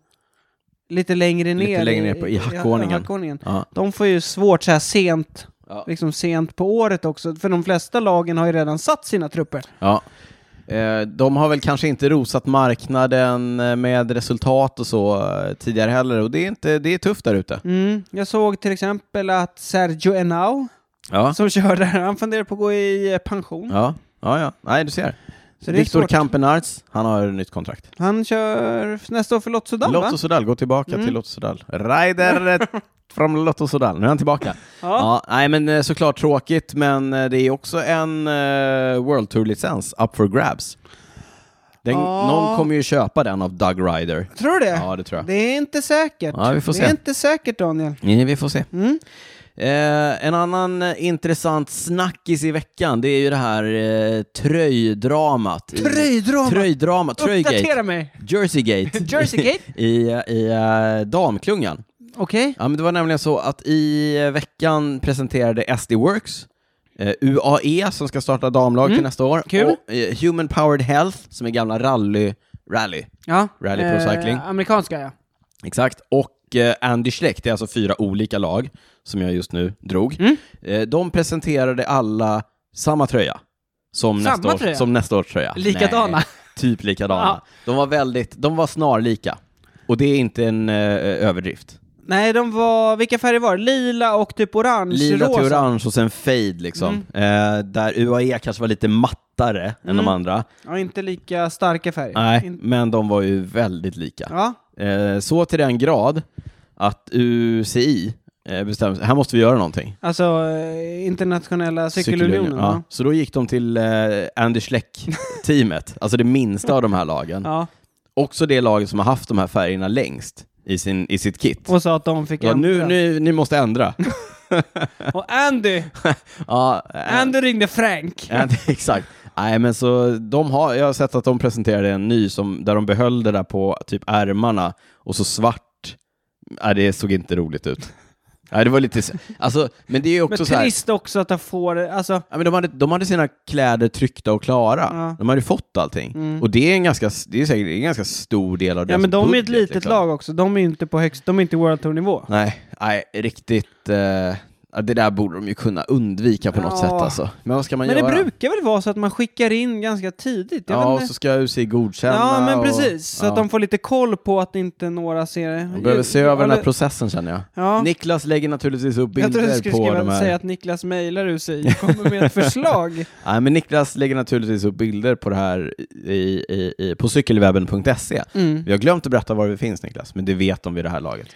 B: lite längre ner,
A: Lite längre ner på- i hackordningen.
B: i hackordningen.
A: Ja.
B: De får ju svårt så här sent,
A: Ja.
B: liksom sent på året också, för de flesta lagen har ju redan satt sina trupper.
A: Ja. Eh, De har väl kanske inte rosat marknaden eh, med resultat och så eh, tidigare heller och det är, inte, det är tufft där ute.
B: Mm. Jag såg till exempel att Sergio Henao,
A: Ja.
B: som kör där, han funderar på att gå i eh, pension.
A: Ja. ja, ja, nej du ser.
B: Så det är
A: Viktor
B: svårt.
A: Kampenarts, han har ett nytt kontrakt.
B: Han kör nästa år för Lotto Dam, va? Mm.
A: Lotto Sudal, gå tillbaka till Lotto Sudal. Ryder från Lotto Sudal, nu är han tillbaka. Ja. nej men eh, såklart tråkigt, men eh, det är också en eh, World Tour-licens up for grabs. Den,
B: Ja.
A: Någon kommer ju köpa den av Doug Ryder.
B: Tror du det?
A: Ja, det tror jag.
B: Det är inte säkert.
A: Ja, vi får
B: det
A: se.
B: är inte säkert, Daniel.
A: Nej, vi får se.
B: Mm.
A: Eh, en annan eh, intressant snackis i veckan, det är ju det här eh, tröjdramat. i-
B: Tröjdramat.
A: Tröjdrama, tröjgate.
B: Uppdatera mig!
A: Jerseygate.
B: Jerseygate?
A: I, i eh, damklungan.
B: Okej.
A: Ja, men det var nämligen så att i eh, veckan presenterade SD Works, eh, UAE som ska starta damlag till nästa år,
B: Mm. Kul.
A: och eh, Human Powered Health som är gamla rally, rally
B: Ja. Eh,
A: Rally Pro Cycling.
B: Amerikanska, ja.
A: Exakt, och eh, Andy Schleck, det är alltså fyra olika lag som jag just nu drog.
B: Mm.
A: Eh, de presenterade alla samma tröja som,
B: Samma
A: nästa, års,
B: tröja?
A: som nästa års tröja.
B: Likadana.
A: Ah, Nej, typ likadana.
B: Ja.
A: De var väldigt, de var snarlika. Och det är inte en eh, överdrift.
B: Nej, de var... Vilka färger var det? Lila och typ orange,
A: Lila
B: rosa. Mm.
A: till orange och sen fade liksom. Eh, där UAE kanske var lite mattare än de andra.
B: Ja, inte lika starka färger.
A: Nej,
B: Mm. In...
A: men de var ju väldigt lika.
B: Ja.
A: Eh, så till den grad att UCI eh, bestämde sig, här måste vi göra någonting.
B: Alltså, eh, internationella cykelunionen.
A: Ja.
B: Ja.
A: Så då gick de till eh, Anders Schleck-teamet, alltså det minsta av de här lagen.
B: ja.
A: Också det laget som har haft de här färgerna längst i, sin, i sitt kit.
B: Och sa att de fick
A: Ja, nu,
B: ändra.
A: nu, ni måste ändra.
B: Och Andy!
A: ja, eh,
B: Andy ringde Frank.
A: Ja, det- exakt. Nej, men så de har, jag har sett att de presenterade en ny som, där de behöll det där på typ ärmarna och så svart. Nej, det såg inte roligt ut. Ja, det var lite... s- Alltså, men det är ju
B: Men
A: också så här...
B: trist också att han får, alltså,
A: Ja, men de, hade, de hade sina kläder tryckta och klara.
B: Ja.
A: De hade fått allting.
B: Mm.
A: Och det är, en ganska, det är säkert det är en ganska stor del av
B: ja
A: deras
B: men de är ett
A: budget,
B: litet
A: liksom.
B: lag också, de är ju inte på högst, de är inte World Tour-nivå.
A: Nej, nej riktigt... Eh, ja, det där borde de ju kunna undvika på något
B: Ja.
A: sätt alltså. Men vad ska man
B: Men det
A: göra?
B: brukar väl vara så att man skickar in ganska tidigt? Jag
A: Ja,
B: vet
A: och
B: inte.
A: så ska UC godkänna.
B: ja men
A: och-
B: precis, så
A: ja.
B: att de får lite koll på att inte några ser...
A: De behöver se över den här
B: Eller-
A: processen känner jag.
B: Ja.
A: Niklas lägger naturligtvis upp
B: Jag trodde du
A: bilder
B: skulle
A: på
B: skriva,
A: de här...
B: säga att Niklas mejlar ur sig kommer med ett förslag.
A: Nej, men Niklas lägger naturligtvis upp bilder på det här i, i, i, på cykelwebben.se.
B: Mm.
A: Vi har glömt att berätta var vi finns Niklas, men det vet de vid det här laget.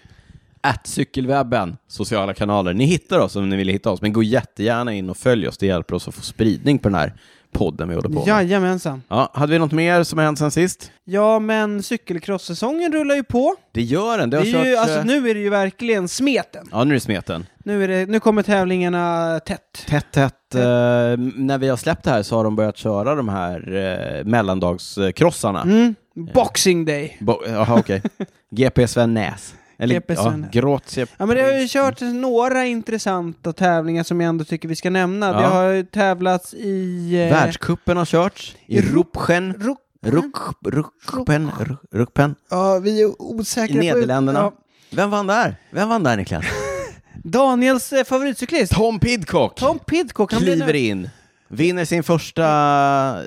A: Att cykelwebben, sociala kanaler. Ni hittar oss om ni vill hitta oss, men gå jättegärna in och följ oss. Det hjälper oss att få spridning på den här podden vi håller på med.
B: Jajamensan.
A: Ja, hade vi något mer som har hänt sen sist?
B: Ja, men cykelcross-säsongen rullar ju på.
A: Det gör den. Det
B: Det
A: har
B: är ju,
A: kört,
B: alltså,
A: eh,
B: nu är det ju verkligen smeten.
A: Ja, nu är det smeten.
B: Nu, är det, nu kommer tävlingarna tätt.
A: Tätt, tätt. Eh, när vi har släppt det här så har de börjat köra de här eh, mellandagskrossarna.
B: Mm. Boxing day.
A: Bo- Jaha, okej. GP Svennäs. Eller
B: GP
A: ja,
B: Svennäs.
A: Grazie.
B: Ja, men det har ju kört några intressanta tävlingar som jag ändå tycker vi ska nämna.
A: Ja.
B: Det har ju tävlats i... eh,
A: Världscupen har körts i
B: I
A: Rupchen.
B: Ro-
A: Ruck- Ruckpen. Ruck- Ruckpen.
B: ja, vi är
A: I
B: osäkra på...
A: Nederländerna.
B: Ja.
A: Vem vann där? Vem vann där Niklas?
B: Daniels eh, favoritcyklist,
A: Tom Pidcock
B: Tom Pidcock, han blev
A: kliver
B: nu...
A: in. Vinner sin första...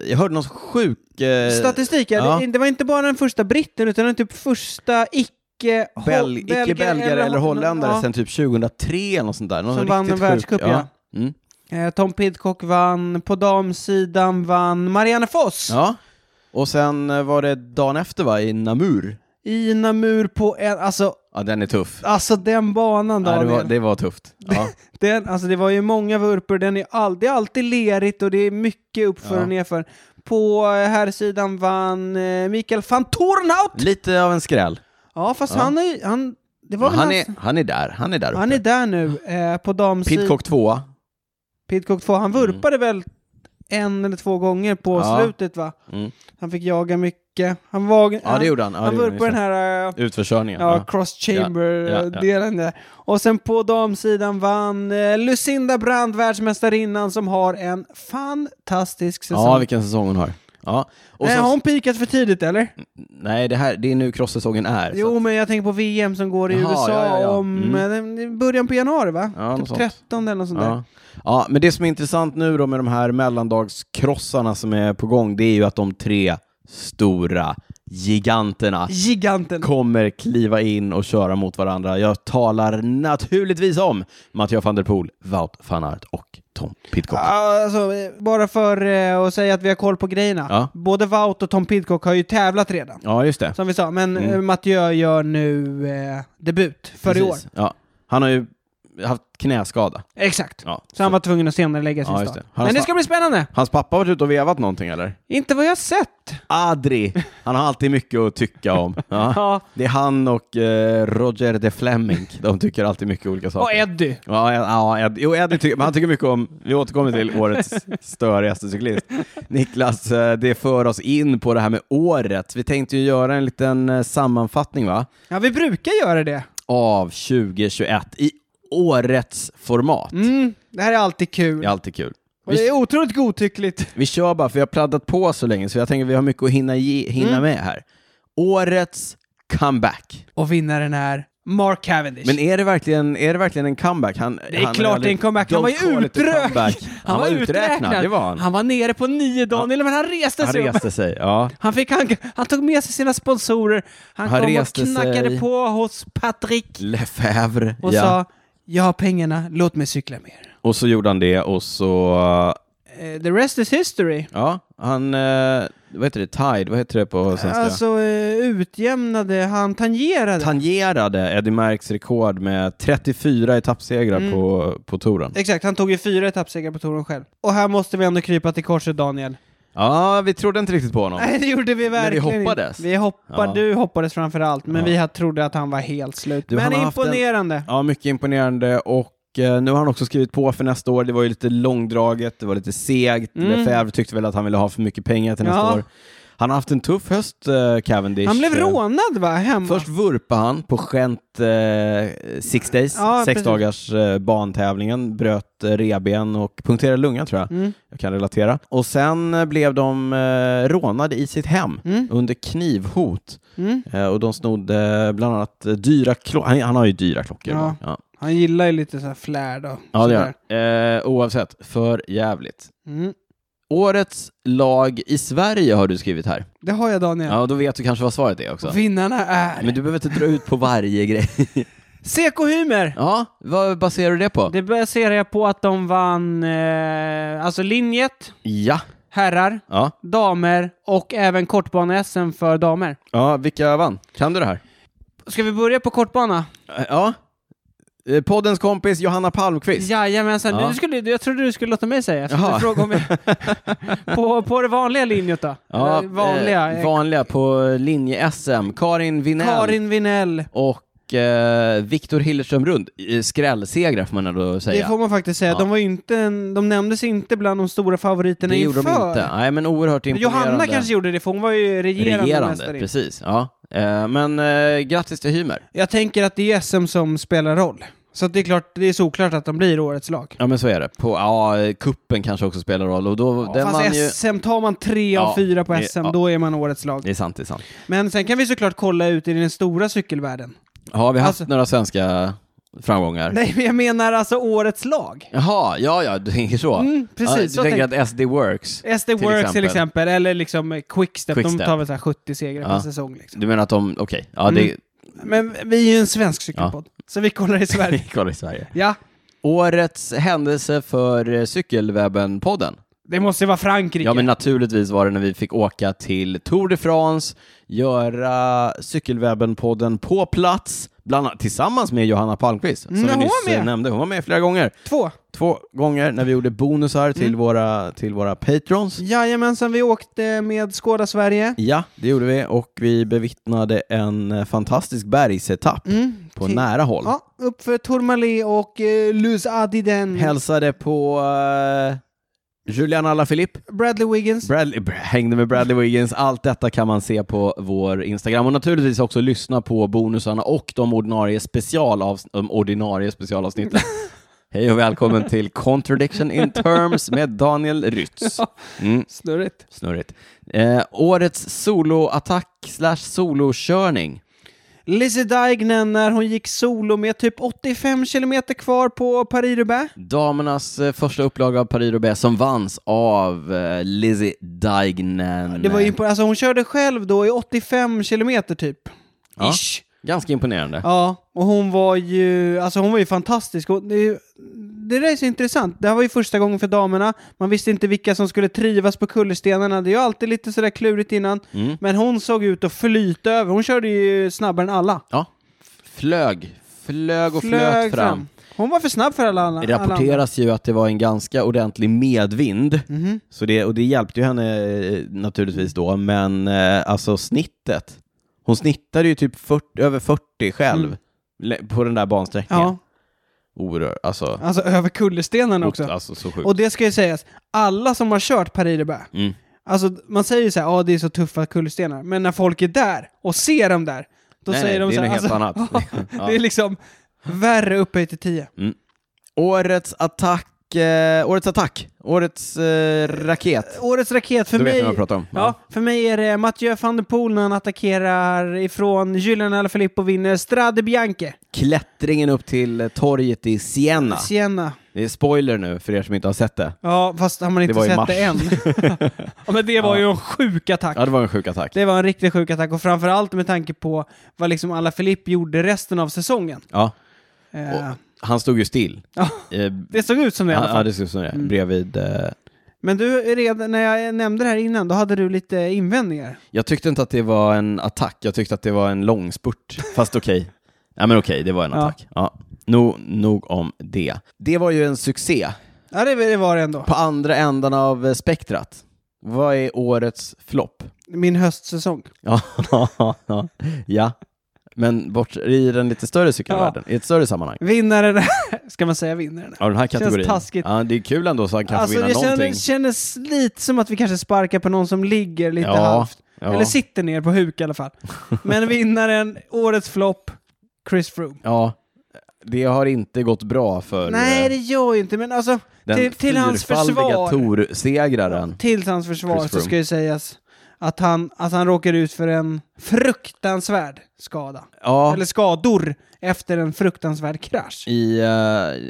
A: Jag hörde någon sjuk... Eh,
B: Statistik, ja.
A: Ja.
B: det, det var inte bara den första britten utan den typ första icke...
A: Bel- Icke-belgare eller holländare
B: ja.
A: sen typ 2003 eller något sånt där. Någon
B: Som
A: riktigt
B: vann en
A: sjuk-
B: världscup, ja.
A: Mm.
B: Eh, Tom Pidcock vann, på damsidan vann Marianne Foss
A: ja. Och sen eh, var det dagen efter va, i Namur.
B: i Namur på en, alltså,
A: Ja, den är tuff.
B: alltså den banan
A: Ja, det,
B: Daniel.
A: var,
B: det...
A: det var tufft. Ja.
B: Den, alltså det var ju många vurpor, den är all, det är alltid lerigt och det är mycket uppför
A: Ja.
B: och nerför. På eh, här sidan vann eh, Mikael van Tornhout!
A: Lite av en skräll.
B: Ja, fast
A: Ja.
B: han är ju- han, det var
A: Ja,
B: väl
A: han,
B: hans-
A: är, han är där, han är där uppe.
B: han är där nu, eh, på damsidan.
A: Pidcock tvåa.
B: Pidcock 2, han vurpade väl en eller två gånger på
A: Mm. Ja.
B: slutet va?
A: Mm.
B: Han fick jaga mycket. Han var...
A: Ja, det gjorde han. Ja,
B: Han
A: det gjorde
B: vurpade den
A: just
B: här eh,
A: det. Utförsörjningen.
B: ja,
A: Ja.
B: cross
A: Ja, ja, ja.
B: chamber-delen där. Och sen på damsidan vann eh, Lucinda Brand, världsmästarinnan, som har en fantastisk säsong.
A: ja, vilken säsong hon har. Ja. Och
B: Nej,
A: sen, Mm,
B: har hon pikat för tidigt eller?
A: Nej, det, här, det är nu crosssäsongen är. så
B: Jo, men jag tänker på VM som går i
A: Jaha,
B: USA
A: ja, ja, ja.
B: om eh, början på januari va?
A: Ja, något
B: typ
A: sånt.
B: 13 eller något sånt där.
A: Ja. ja, men det som är intressant nu då med de här mellandagskrossarna som är på gång, det är ju att de tre stora giganterna
B: Giganten.
A: kommer kliva in och köra mot varandra. Jag talar naturligtvis om Mattias van der Poel, Wout van Aert och Tom Pidcock.
B: Ja, Alltså, eh, bara för eh, att säga att vi har koll på grejerna.
A: Ja.
B: Både Wout och Tom Pidcock har ju tävlat redan,
A: Ja, just det.
B: som vi sa. Men mm. Mathieu gör nu eh, debut för i år.
A: Precis. Ja. Han har ju haft knäskada.
B: Exakt.
A: Ja.
B: Så han var tvungen att senare lägga sin
A: Ja, just
B: start.
A: det. Har han
B: Men det
A: sta-
B: ska bli spännande!
A: Hans pappa har varit ute och vevat någonting eller?
B: Inte vad jag har sett.
A: Ah, Adri, han har alltid mycket att tycka om. Ja.
B: Ja.
A: Det är han och eh, Roger de Fleming, de tycker alltid mycket olika
B: Och
A: saker.
B: Eddie.
A: Ja, Ed, ja Ed, jo, Eddie tycker, men han tycker mycket om, vi återkommer till årets störigaste cyklist. Niklas, eh, det för oss in på det här med året. Vi tänkte ju göra en liten eh, sammanfattning va?
B: Ja, vi brukar göra det.
A: av 2021 i årets format.
B: Mm, det här är alltid kul.
A: Det är alltid kul.
B: Och det är otroligt godtyckligt.
A: Vi kör bara, för vi har pladdat på så länge, så jag tänker vi har mycket att hinna, ge, hinna
B: Mm.
A: med här. Årets comeback.
B: Och vinnaren är Mark Cavendish.
A: Men är det verkligen, är det verkligen en comeback? Han,
B: det är klart det är en comeback. Han var ju utrök.
A: uträknad. Han,
B: Han
A: var uträknad, det var han.
B: Han var nere på nio dagar, men han reste
A: Han
B: sig upp.
A: reste sig, ja.
B: Han, fick, han, han tog med sig sina sponsorer, han,
A: Han
B: kom och
A: reste
B: knackade
A: sig.
B: på hos Patrik
A: Lefebvre.
B: och
A: ja.
B: sa Jag har pengarna, låt mig cykla med er.
A: och så gjorde han det och så...
B: Eh, the rest is history.
A: Ja, han... eh, vad heter det? Tide? Vad heter det på svenska?
B: Alltså eh, utjämnade, han tangerade.
A: Tangerade Eddie Merckx rekord med 34 etappsegrar
B: Mm.
A: på, på touren.
B: Exakt, han tog ju fyra etappsegrar på touren själv. Och här måste vi ändå krypa till korset Daniel.
A: Ja, vi trodde inte riktigt på honom.
B: Nej, det gjorde vi
A: vi
B: verkligen inte.
A: hoppades.
B: Vi hoppade,
A: Ja.
B: Du hoppades framför allt, men
A: Ja.
B: vi hade- trodde att han var helt slut.
A: Du,
B: men
A: han har haft en-
B: imponerande.
A: Ja, mycket imponerande och eh, nu har han också skrivit på för nästa år. Det var ju lite långdraget, det var lite segt.
B: Mm.
A: Lefebvre tyckte väl att han ville ha för mycket pengar till nästa
B: Ja.
A: år. Han har haft en tuff höst, eh, Cavendish.
B: Han blev rånad va, hemma?
A: Först vurpade han på skämt eh, Six Days,
B: Ja,
A: sex
B: precis.
A: dagars eh, bantävlingen, bröt eh, revben och punkterade lungan tror jag.
B: Mm.
A: Jag kan relatera. Och sen eh, blev de eh, rånade i sitt hem
B: Mm.
A: under knivhot.
B: Mm.
A: Eh, och de snodde eh, bland annat eh, dyra klockor. Han, han har ju dyra klockor.
B: Ja.
A: va? Ja.
B: Han gillar ju lite så här flärd och
A: Ja, det
B: sådär.
A: gör han. eh, Oavsett, för jävligt.
B: Mm.
A: Årets lag i Sverige har du skrivit här.
B: Det har jag Daniel.
A: Ja, då vet du kanske vad svaret är också.
B: Och Vinnarna är...
A: Men du behöver inte dra ut på varje grej.
B: CK Hymer!
A: Ja, vad baserar du det på?
B: Det baserar jag på att de vann eh, alltså linjet,
A: Ja.
B: herrar,
A: Ja.
B: damer och även kortbane-SM för damer.
A: ja, vilka vann? Kan du det här?
B: Ska vi börja på kortbana?
A: Ja. Eh, Poddens kompis Johanna Palmqvist.
B: Jajamensan.
A: Ja.
B: Du skulle, jag trodde du skulle låta mig säga. Jag skulle
A: Jaha.
B: fråga om jag, på, på det vanliga linjet då?
A: Ja,
B: Eller vanliga.
A: eh,
B: eh,
A: vanliga på linje-SM. Karin Vinell
B: Karin Vinell.
A: och eh, Viktor Hillerström Rund. Eh, Skrällsegrar får man ändå säga.
B: Det får man faktiskt säga.
A: Ja.
B: De, var ju inte en, de nämndes inte bland de stora favoriterna
A: Det
B: inför.
A: gjorde de inte. Nej, men oerhört imponerande.
B: Johanna kanske gjorde det, för hon var ju regerande,
A: regerande.
B: mästare.
A: Precis, ja. Eh, men eh, grattis till Hymer.
B: Jag tänker att det är SM som spelar roll. Så att det är klart, det är såklart att de blir årets lag.
A: Ja, men så är det. På, ja, eh, kuppen kanske också spelar roll. Och då,
B: Ja,
A: den vann
B: Fast
A: ju...
B: SM, tar man tre
A: Ja,
B: av fyra på
A: det-
B: SM,
A: ja.
B: då är man årets lag.
A: Det är sant, det är sant.
B: Men sen kan vi såklart kolla ut i den stora cykelvärlden.
A: Har vi haft
B: Alltså-
A: några svenska framgångar?
B: Nej, men jag menar alltså årets lag.
A: Jaha, ja, ja, du tänker så.
B: Mm, precis,
A: Ja, du
B: så
A: tänker att SD works.
B: SD Works till
A: exempel.
B: exempel, eller liksom eh, Quickstep, de
A: Quickstep.
B: tar väl så här 70 segrar per
A: Ja.
B: säsong. Liksom.
A: Du menar att de, okej, ja det
B: Mm. Men vi är ju en svensk cykelpodd, så vi kollar i
A: vi
B: Sverige.
A: kollar i Sverige.
B: ja,
A: Årets händelse för eh, Cykelwebben-podden.
B: det måste ju vara Frankrike.
A: Ja, men naturligtvis var det när vi fick åka till Tour de France, göra Cykelwebben-podden på plats, bland annat tillsammans med Johanna Palmqvist, som
B: Mm,
A: vi
B: hon
A: nyss
B: var med.
A: eh, nämnde. Hon var med flera gånger.
B: Två.
A: Två gånger när vi gjorde bonusar till,
B: Mm.
A: våra, till våra patrons.
B: Jajamensan, vi åkte med Skåda Sverige.
A: Ja, det gjorde vi och vi bevittnade en eh, fantastisk bergsetapp
B: Mm.
A: på
B: till-
A: nära håll.
B: Ja, upp för Tourmalet och eh, Luz Adiden.
A: Hälsade på eh, Julian Alaphilippe,
B: Bradley Wiggins.
A: Bradley, br- hängde med Bradley Wiggins. Allt detta kan man se på vår Instagram och naturligtvis också lyssna på bonusarna och de ordinarie, specialavs- de ordinarie specialavsnitten. Hej och välkommen till Contradiction in Terms med Daniel Rytz. Mm.
B: Snurrigt.
A: Snurrigt. Eh, årets soloattack slash solokörning.
B: Lizzie Deignan när hon gick solo med typ 85 kilometer kvar på Paris-Roubaix.
A: Damernas eh, första upplaga av Paris Roubaix som vanns av eh, Lizzie Deignan.
B: Det var impo- alltså hon körde själv då i 85 kilometer typ.
A: Ja.
B: Ish.
A: Ganska imponerande.
B: Ja, och hon var ju, alltså hon var ju fantastisk. Hon, det, är ju- det där är så intressant. Det här var ju första gången för damerna. Man visste inte vilka som skulle trivas på kullerstenarna. Det är ju alltid lite sådär klurigt innan.
A: Mm.
B: Men hon såg ut att flyta över. Hon körde ju snabbare än alla.
A: Ja. Flög. Flög och flöt fram.
B: Hon var för snabb för alla alla.
A: Det
B: alla andra.
A: rapporteras ju att det var en ganska ordentlig medvind,
B: Mm. Mhm.
A: så det, och det hjälpte ju henne eh, naturligtvis då, men eh, alltså snittet. Hon snittade ju typ 40, över 40 själv
B: Mm.
A: le- på den där bansträckningen.
B: Ja,
A: Orör, alltså,
B: alltså över kullerstenarna
A: och,
B: också.
A: alltså så sjukt.
B: Och det ska ju sägas, alla som har kört paris roubaix
A: Mm.
B: Alltså man säger ju så här, ja det är så tuffa kullerstenar, men när folk är där och ser dem där, då
A: Nej, nej,
B: säger de
A: det
B: så
A: är
B: här,
A: något helt
B: alltså,
A: annat.
B: ja,
A: Ja.
B: Det är liksom värre upphöjt till 10.
A: Årets attack, eh, årets attack, årets eh, raket.
B: Årets raket för
A: du vet
B: mig...
A: vad jag pratar om.
B: Ja, för mig är det Mathieu van der Poel när han attackerar ifrån Julian Alaphilippe och vinner Strade Bianche.
A: Klättringen upp till eh, torget i Siena.
B: Siena.
A: Det är spoiler nu för er som inte har sett det.
B: Ja, fast har man inte
A: var i
B: sett
A: mars.
B: det än. ja, men det var ju en sjuk attack.
A: Ja, det var en sjuk attack.
B: Det var en riktigt sjuk attack och framförallt med tanke på vad liksom Alaphilippe gjorde resten av säsongen.
A: Ja.
B: Eh,
A: Han stod ju still.
B: ja,
A: Eh,
B: det såg ut som det i alla
A: Ja, ja,
B: fall. Mm.
A: det ser ut som det. Bredvid. Eh,
B: Men du, redan, när jag nämnde det här innan, då hade du lite invändningar.
A: jag tyckte inte att det var en attack, jag tyckte att det var en långspurt. Fast okej. Ja, men okej, det var en
B: Ja.
A: attack. Ja. Nog, nog om det. Det var ju en succé.
B: Ja, det, det var det ändå.
A: På andra ändan av eh, spektrat. Vad är årets flopp?
B: Min höstsäsong.
A: Ja, ja, ja. Men bort, i den lite större cykelvärlden, i ett större sammanhang.
B: Vinnaren, ska man säga vinnaren?
A: Av den här
B: Känns
A: kategorin.
B: taskigt.
A: Ja, det är kul ändå så han kanske
B: Alltså
A: vinner
B: det
A: någonting.
B: kändes, kändes lite som att vi kanske sparkar på någon som ligger lite
A: Ja.
B: halvt.
A: Ja.
B: Eller sitter ner på huk i alla fall. Men vinnaren, årets flopp, Chris Froome.
A: Ja, det har inte gått bra för
B: Nej,
A: eh,
B: det gör ju inte, men alltså
A: den
B: till, till hans försvar.
A: Tor-segraren.
B: Till hans försvar
A: Chris
B: så
A: Froome.
B: ska ju sägas att han, att han råkar ut för en fruktansvärd skada.
A: Ja,
B: Eller skador efter en fruktansvärd krasch.
A: i, eh,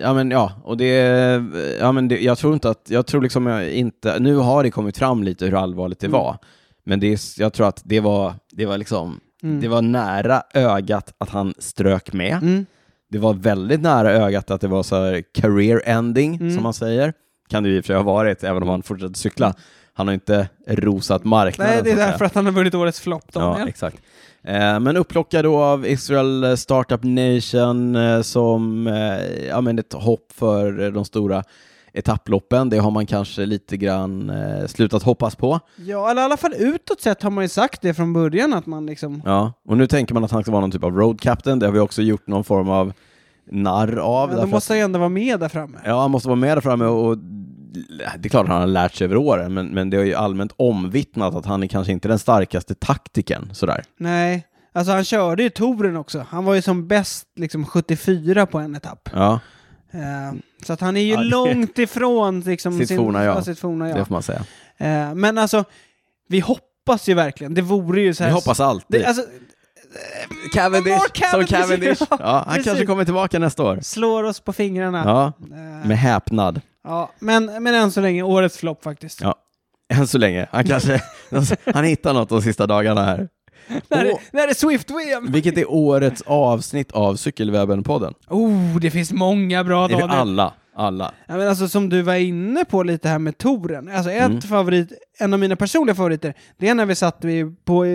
A: ja men ja, och det, eh, ja men det, jag tror inte att, jag tror liksom jag inte, nu har det kommit fram lite hur allvarligt
B: Mm.
A: det var, men det, är s- jag tror att det var, det var liksom, det var nära ögat att han strök med.
B: Mm.
A: Det var väldigt nära ögat att det var så här career ending,
B: Mm.
A: som man säger. Kan det ju i och för sig ha varit, även om han fortsatte cykla. Han har inte rosat marknaden.
B: Nej, det
A: så
B: är
A: att säga.
B: därför att han har vunnit årets flopp,
A: Ja,
B: Daniel.
A: exakt. Eh, men upplockad då av Israel eh, Startup Nation eh, som eh, ja, men ett hopp för eh, de stora etapploppen. Det har man kanske lite grann eh, slutat hoppas på.
B: Ja, eller i alla fall utåt sett har man ju sagt det från början att man liksom...
A: Ja. Och nu tänker man att han ska vara någon typ av road captain. Det har vi också gjort någon form av narr av.
B: Ja,
A: därför
B: de
A: att-
B: måste ju ändå vara med där framme.
A: Ja, han måste vara med där framme och och det är klart att han har lärt sig över åren, men, men det är ju allmänt omvittnat att han är kanske inte den starkaste taktiken sådär.
B: Nej, alltså han körde ju touren också. Han var ju som bäst liksom 74 på en etapp.
A: Ja,
B: Eh, så att han är ju
A: Ja, det-
B: långt ifrån liksom
A: Sitt forna jag.
B: sitt forna jag.
A: det får man säga.
B: Eh, men alltså, vi hoppas ju verkligen. Det vore ju så här...
A: Vi hoppas alltid.
B: det, alltså,
A: Cavendish,
B: Mark Cavendish,
A: som Cavendish.
B: ja,
A: Ja, han
B: precis.
A: kanske kommer tillbaka nästa år.
B: slår oss på fingrarna.
A: Ja,
B: Eh,
A: med häpnad.
B: ja, men, men än så länge, årets flopp faktiskt.
A: Ja. Än så länge. Han kanske han hittar något de sista dagarna här.
B: När,
A: Åh.
B: det, när det är Swift-VM!
A: Vilket är årets avsnitt av Cykelwebben-podden.
B: Oh, det finns många bra
A: Det är vi
B: Daniel.
A: alla, alla.
B: Ja, men alltså, som du var inne på lite här med touren. Alltså, ett
A: Mm.
B: favorit, en av mina personliga favoriter, det är när vi satt vi på, i,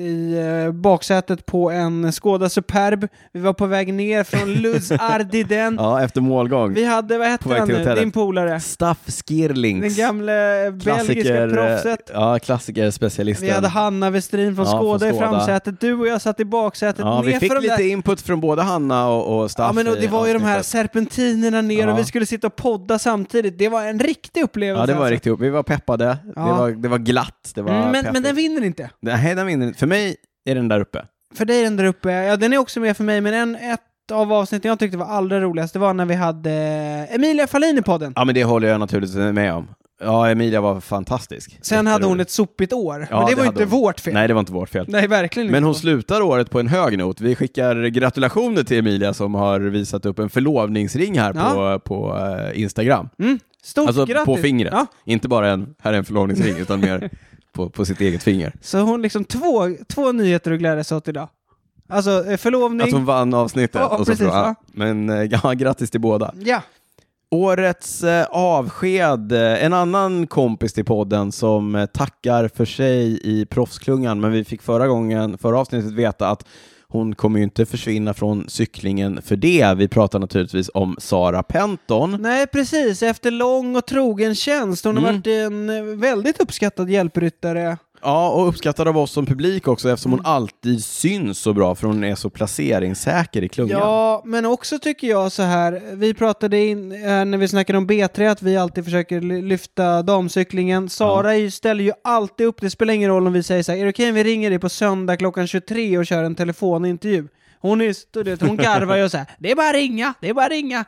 B: i eh, baksätet på en Skoda Superb. Vi var på väg ner från Luz Ardiden.
A: Ja, efter målgång.
B: Vi hade, vad
A: På
B: hette
A: väg
B: han
A: till
B: nu,
A: hotellet.
B: din polare?
A: Staff
B: Den
A: Skirlings.
B: gamle
A: eh,
B: belgiska proffset.
A: Ja, klassikerspecialisten.
B: Vi hade Hanna Westrin från
A: Ja,
B: Skåda
A: från
B: i
A: Skåda.
B: framsätet, du och jag satt i baksätet.
A: Ja, vi
B: ner
A: fick
B: för de där-
A: lite input från både Hanna och, och Staff.
B: Ja, men och det
A: i
B: var ju de här
A: avsnittet.
B: serpentinerna ner
A: Ja.
B: och vi skulle sitta och podda samtidigt. Det var en riktig upplevelse.
A: Ja, det var
B: alltså.
A: riktigt. Vi var peppade. Det,
B: Ja.
A: var, det var glatt. Det var
B: Mm, men,
A: peppigt.
B: men den vinner inte.
A: Nej, den vinner inte. För mig är den där uppe.
B: För dig är den där uppe, ja den är också med för mig, men en, ett av avsnitten jag tyckte var allra roligast, det var när vi hade eh, Emilia Fahlin i podden.
A: Ja, men det håller jag naturligtvis med om. Ja, Emilia var fantastisk.
B: Sen hade hon
A: Jätterolig.
B: ett sopigt år,
A: Ja,
B: men det,
A: det
B: var ju
A: hade
B: inte
A: hon.
B: vårt fel. Nej,
A: Nej, det var inte vårt fel.
B: verkligen
A: Men
B: inte.
A: hon slutar året på en hög not. Vi skickar gratulationer till Emilia som har visat upp en förlovningsring här på,
B: Ja.
A: på eh, Instagram.
B: Mm. Stort
A: Alltså
B: grattis!
A: på fingret.
B: Ja.
A: Inte bara en, här är en förlovningsring, utan mer på, på sitt eget finger.
B: Så hon liksom två, två nyheter att glädjas åt idag. Alltså eh, förlovning,
A: Att hon vann avsnittet.
B: Ja,
A: och så
B: precis,
A: fråga.
B: ja.
A: Men eh, ja, grattis till båda.
B: ja.
A: Årets eh, avsked, eh, en annan kompis till podden som eh, tackar för sig i proffsklungan, men vi fick förra gången, förra avsnittet veta att hon kommer ju inte försvinna från cyklingen för det. Vi pratar naturligtvis om Sara Penton.
B: Nej, precis. Efter lång och trogen tjänst. Hon har
A: Mm.
B: varit en eh, väldigt uppskattad hjälpryttare.
A: Ja, och uppskattad av oss som publik också eftersom hon alltid syns så bra för hon är så placeringssäker i klungan.
B: Ja, men också tycker jag så här. Vi pratade in eh, när vi snackade om B3 att vi alltid försöker ly- lyfta damcyklingen. Sara är ju- ställer ju alltid upp. Det spelar ingen roll om vi säger så här. Är det okej om vi ringer dig på söndag klockan 23 och kör en telefonintervju? Hon, är, ju- du vet, hon garvar ju och så här. Det är bara att ringa, det är bara att ringa.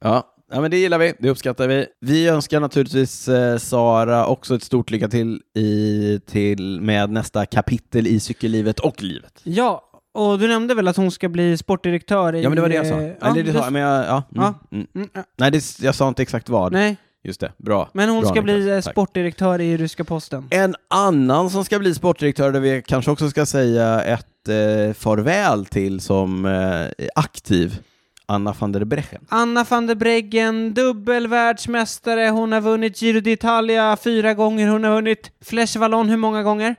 A: Ja. ja, men det gillar vi, det uppskattar vi. Vi önskar naturligtvis eh, Sara också ett stort lycka till, i, till med nästa kapitel i cykellivet och livet.
B: Ja, och du nämnde väl att hon ska bli sportdirektör i...
A: Ja, men det var det jag sa.
B: eh, ja,
A: Eller det
B: du-
A: sa jag, men jag, ja. Mm,
B: Ja.
A: Mm.
B: Mm, ja.
A: Nej, det, jag sa inte exakt vad.
B: Nej,
A: Just det, bra.
B: men hon
A: bra,
B: ska bli eh,
A: Niklas. Tack.
B: sportdirektör i ryska posten.
A: En annan som ska bli sportdirektör, där vi kanske också ska säga ett eh, farväl till som eh, aktiv, Anna van der Brechen.
B: Anna van der Breggen, dubbel världsmästare, hon har vunnit Giro d'Italia fyra gånger, hon har vunnit Fleche Wallon hur många gånger?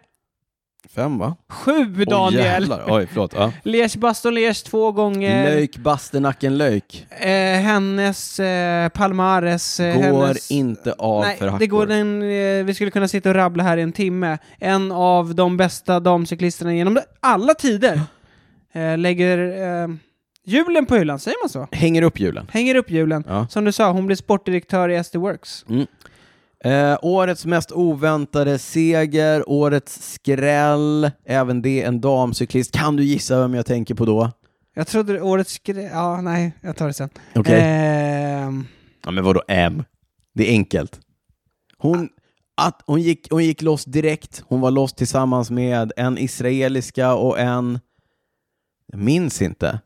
A: Fem va?
B: Sju,
A: Oj,
B: Daniel!
A: jävlar. Oj, förlåt. Ja.
B: Liège Baston Liège två gånger.
A: Löjk, Bastenacken Löjk.
B: Eh, hennes eh, Palmares. Eh,
A: går
B: hennes...
A: inte av
B: Nej,
A: för hackor.
B: det går den, eh, vi skulle kunna sitta och rabbla här i en timme. En av de bästa damcyklisterna genom alla tider eh, lägger eh, hjulen på hyllan, säger man så?
A: Hänger upp hjulen.
B: Hänger upp hjulen.
A: Ja.
B: Som du sa, hon blir sportdirektör i SD Works.
A: Eh, årets mest oväntade seger, årets skräll, även det en damcyklist. Kan du gissa vem jag tänker på då?
B: Jag trodde det- årets skräll... Ja, nej, jag tar det sen.
A: Okej.
B: Ehm,
A: Ja, men vadå M? Det är enkelt. Hon, att, hon, gick, hon gick loss direkt. Hon var loss tillsammans med en israeliska och en... Jag minns inte.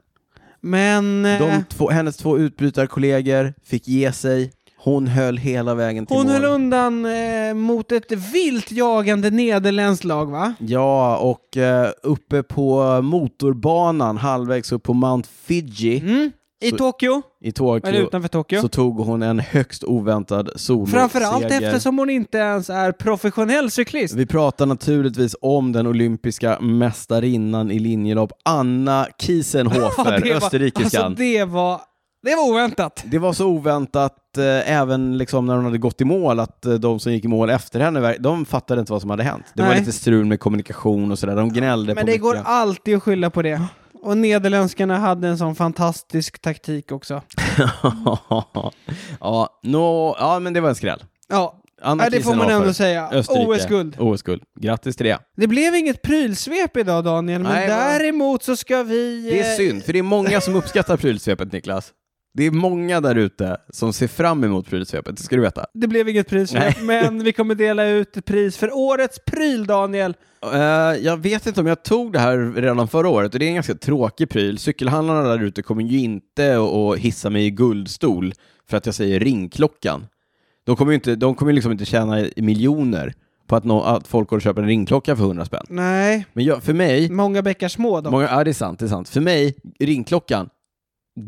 B: men... eh,
A: De två, hennes två utbrytarkollegor fick ge sig. Hon höll hela vägen till
B: hon
A: mål.
B: höll undan eh, mot ett vilt jagande nederländskt lag, va?
A: Ja, och eh, uppe på motorbanan halvvägs upp på Mount Fiji
B: Mm. I
A: Så-
B: Tokyo,
A: i Tokyo
B: eller utanför Tokyo.
A: så tog hon en högst oväntad soloseger.
B: Framförallt eftersom hon inte ens är professionell cyklist.
A: Vi pratar naturligtvis om den olympiska mästarinnan i linjelopp, Anna Kiesenhofer,
B: det var,
A: österrikiskan.
B: alltså, det var... Det var oväntat.
A: Det var så oväntat, eh, även liksom när hon hade gått i mål, att eh, de som gick i mål efter henne, ver- de fattade inte vad som hade hänt. Det var
B: Nej.
A: lite strul med kommunikation och sådär, de gnällde
B: Men
A: på
B: det går
A: mycket.
B: alltid att skylla på det. Och nederländskarna hade en sån fantastisk taktik också.
A: ja, nå- ja, men det var en skräll.
B: Ja,
A: Anna
B: Nej, det får man
A: Kiesenhofer,
B: ändå säga.
A: Österrike.
B: OS-guld.
A: OS-guld. Grattis till det.
B: Det blev inget prylsvep idag Daniel, men
A: Nej, vad-
B: däremot så ska vi...
A: Det
B: eh,
A: är synd, för det är många som uppskattar prylsvepet, Niklas. Det är många där ute som ser fram emot prylsvepet, det ska du veta.
B: Det blev inget prylsvep, men vi kommer dela ut ett pris för årets pryl Daniel.
A: Eh, jag vet inte om jag tog det här redan förra året och det är en ganska tråkig pryl. Cykelhandlarna där ute kommer ju inte att- att hissa mig i guldstol för att jag säger ringklockan. De kommer ju inte, de kommer ju liksom inte tjäna i- miljoner på att, nå- att folk går och köper en ringklocka för 100 spänn.
B: Nej,
A: Men jag, för mig,
B: många bäckar små Mm, då.
A: många, ja, det är sant, det är sant. För mig, ringklockan,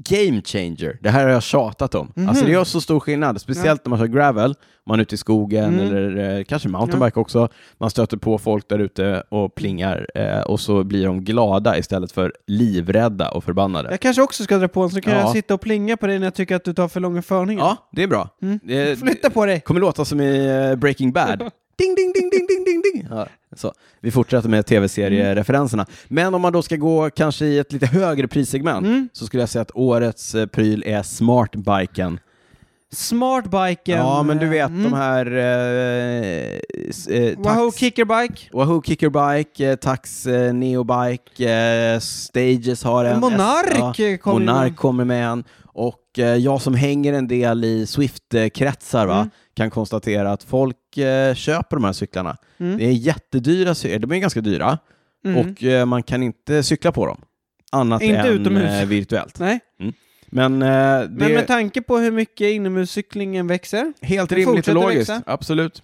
A: game changer. Det här har jag tjatat om.
B: Mhm.
A: Alltså det gör så stor skillnad, speciellt när man kör gravel, man är ute i skogen
B: Mm.
A: eller eh, kanske mountainbike också. Man stöter på folk där ute och plingar eh, och så blir de glada istället för livrädda och förbannade.
B: Jag kanske också ska dra på en så kan
A: Ja.
B: jag sitta och plinga på dig när jag tycker att du tar för långa förningar. Eh,
A: Ja, det är bra.
B: Mm.
A: Det,
B: Flytta på dig!
A: kommer låta som i eh, Breaking Bad. Ding, ding, ding, ding, ding, ding, ding. Ja, så. Vi fortsätter med tv-seriereferenserna.
B: Mm.
A: Men om man då ska gå kanske i ett lite högre prissegment
B: Mm.
A: så skulle jag säga att årets eh, pryl är smartbiken.
B: Smartbiken.
A: Ja, men du vet
B: Mm.
A: de här... Eh, s- eh, tax-
B: Wahoo Kickerbike.
A: Wahoo Kickerbike, eh, Tax eh, Neobike, eh, Stages har en.
B: Monark
A: Ja,
B: kommer
A: Monark
B: in.
A: kommer med en. Och eh, jag som hänger en del i Swift-kretsar va,
B: Mm.
A: kan konstatera att folk eh, köper de här cyklarna.
B: Mm.
A: Det är jättedyra cyklar, de är ganska dyra
B: Mm.
A: och eh, man kan inte cykla på dem. Annat
B: Inte
A: än
B: utomhus.
A: eh, virtuellt.
B: Nej,
A: Men eh, det
B: men
A: är
B: med tanke på hur mycket inomhuscyklingen växer.
A: helt
B: den
A: rimligt och
B: fortsätter
A: logiskt.
B: växa.
A: Absolut.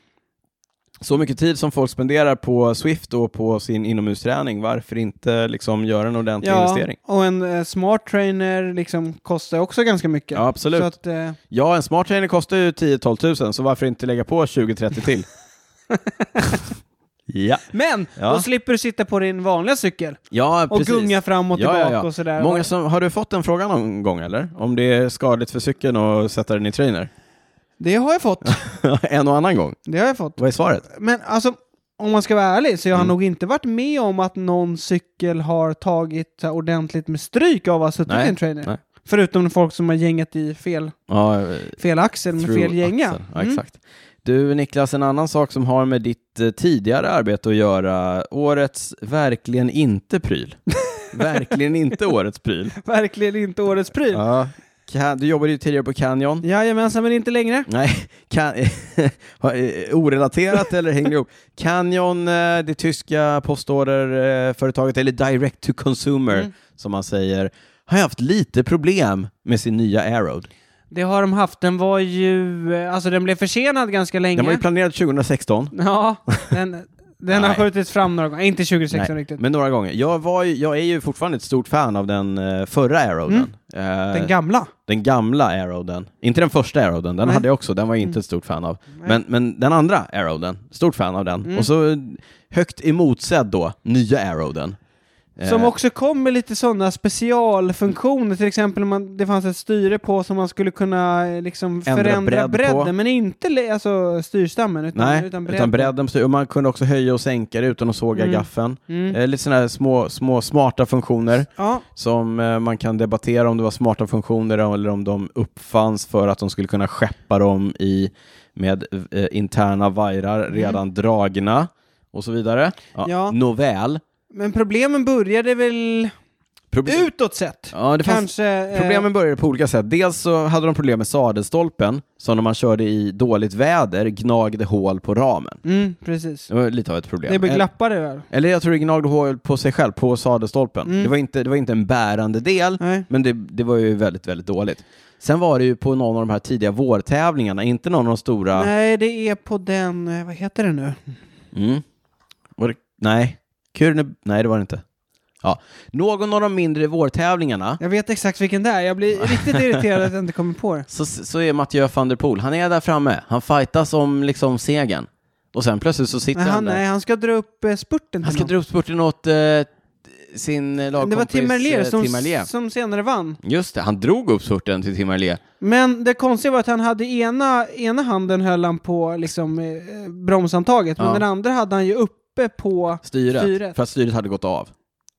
A: Så mycket tid som folk spenderar på Swift och på sin inomhusträning, varför inte liksom göra en ordentlig investering?
B: och en eh, smart trainer liksom kostar också ganska mycket.
A: Ja, absolut.
B: Så att, eh,
A: Ja, en smart trainer kostar ju 10-12 000, så varför inte lägga på 20-30 till? ja.
B: men
A: Ja.
B: då slipper du sitta på din vanliga cykel
A: ja,
B: och
A: precis.
B: gunga fram och tillbaka och sådär.
A: Många som, har du fått den frågan någon gång eller? Om det är skadligt för cykeln att sätta den i trainer?
B: Det har jag fått.
A: en och annan gång.
B: Det har jag fått.
A: Vad är svaret?
B: Men alltså, om man ska vara ärlig så jag
A: Mm.
B: har nog inte varit med om att någon cykel har tagit så här ordentligt med stryk av att ha suttit
A: Nej,
B: i en trainer.
A: nej.
B: Förutom folk som har gängat i fel,
A: Ja,
B: fel axel med
A: through
B: fel gänga.
A: axel. Ja,
B: Mm.
A: exakt. Du Niklas, en annan sak som har med ditt eh, tidigare arbete att göra, årets verkligen inte pryl. verkligen inte årets pryl.
B: Mm. Verkligen inte årets pryl.
A: Ja. Ca- Du jobbade ju tidigare på Canyon.
B: Jajamensan, men inte längre.
A: Nej, kan, har- eh, orelaterat eller hänger ihop. Canyon, eh, det tyska postorderföretaget, eller direct to consumer
B: Mm.
A: som man säger, har haft lite problem med sin nya Aeroad.
B: Det har de haft. Den var ju... eh, Alltså den blev försenad ganska länge.
A: Den var ju planerad 2016.
B: Ja, den, den har
A: Nej.
B: skjutits fram några gånger. Inte 2016
A: Nej,
B: riktigt.
A: men några gånger. Jag, var ju, jag är ju fortfarande ett stort fan av den eh, förra Aeroden. Eh,
B: Mm. Den gamla.
A: den gamla Aeroden. Inte den första Aeroden, den
B: Nej. Mm.
A: hade jag också, den var jag inte ett stort fan av.
B: Nej.
A: Men, men den andra Aeroden, stort fan av den.
B: Mm.
A: Och så högt emotsedd då, nya Aeroden. Eh,
B: Som också kom med lite sådana specialfunktioner, till exempel om man, det fanns ett styre på som man skulle kunna eh, liksom
A: Ändra
B: förändra
A: bredd på.
B: bredden, men inte le- alltså, styrstammen utan,
A: Nej,
B: utan
A: utan,
B: bredden.
A: bredden. precis. Och man kunde också höja och sänka det utan att såga
B: Mm.
A: gaffeln.
B: Mm.
A: Eh, lite sådana här små, små smarta funktioner
B: Ja,
A: som eh, man kan debattera om det var smarta funktioner eller om de uppfanns för att de skulle kunna skeppa dem i med eh, interna vajrar redan dragna och så vidare. Ja.
B: Mm. Ja.
A: Nåväl.
B: men problemen började väl
A: Proble-
B: utåt sett.
A: ja, det fanns,
B: Kanske... eh,
A: Problemen började på olika sätt. Dels så hade de problem med sadelstolpen som när man körde i dåligt väder gnagde hål på ramen.
B: Mm, precis.
A: Det var lite av ett problem.
B: Det
A: Eh,
B: beglappade väl?
A: Eller jag tror det gnagde hål på sig själv, på sadelstolpen.
B: Mm.
A: Det, var inte, det var inte en bärande del,
B: Nej.
A: men det, det var ju väldigt, väldigt dåligt. Sen var det ju på någon av de här tidiga vårtävlingarna, inte någon av de stora...
B: Nej, det är på den, eh, vad heter det nu?
A: Mm. Var det, nej. Kurne... Nej, det var det inte. Ja. Någon av de mindre vårtävlingarna
B: Jag vet exakt vilken det är, jag blir riktigt irriterad att jag inte kommer på det.
A: så, så är Mathieu van der Poel, han är där framme, han fightas om liksom segern. Och sen plötsligt så sitter
B: Nej,
A: han
B: han,
A: där.
B: nej, han ska dra upp eh, spurten till
A: Han ska
B: någon.
A: dra upp spurten åt eh, sin eh,
B: Det var
A: lagkompis
B: Timmerlier
A: eh,
B: som,
A: Timmerlier.
B: som senare vann.
A: Just det, han drog upp spurten till Timmerlier.
B: Men det konstiga var att han hade ena, ena handen höll han på liksom, eh, bromsantaget, men
A: Ja.
B: den andra hade han ju uppe på...
A: Styret,
B: Styret.
A: för att styret hade gått av.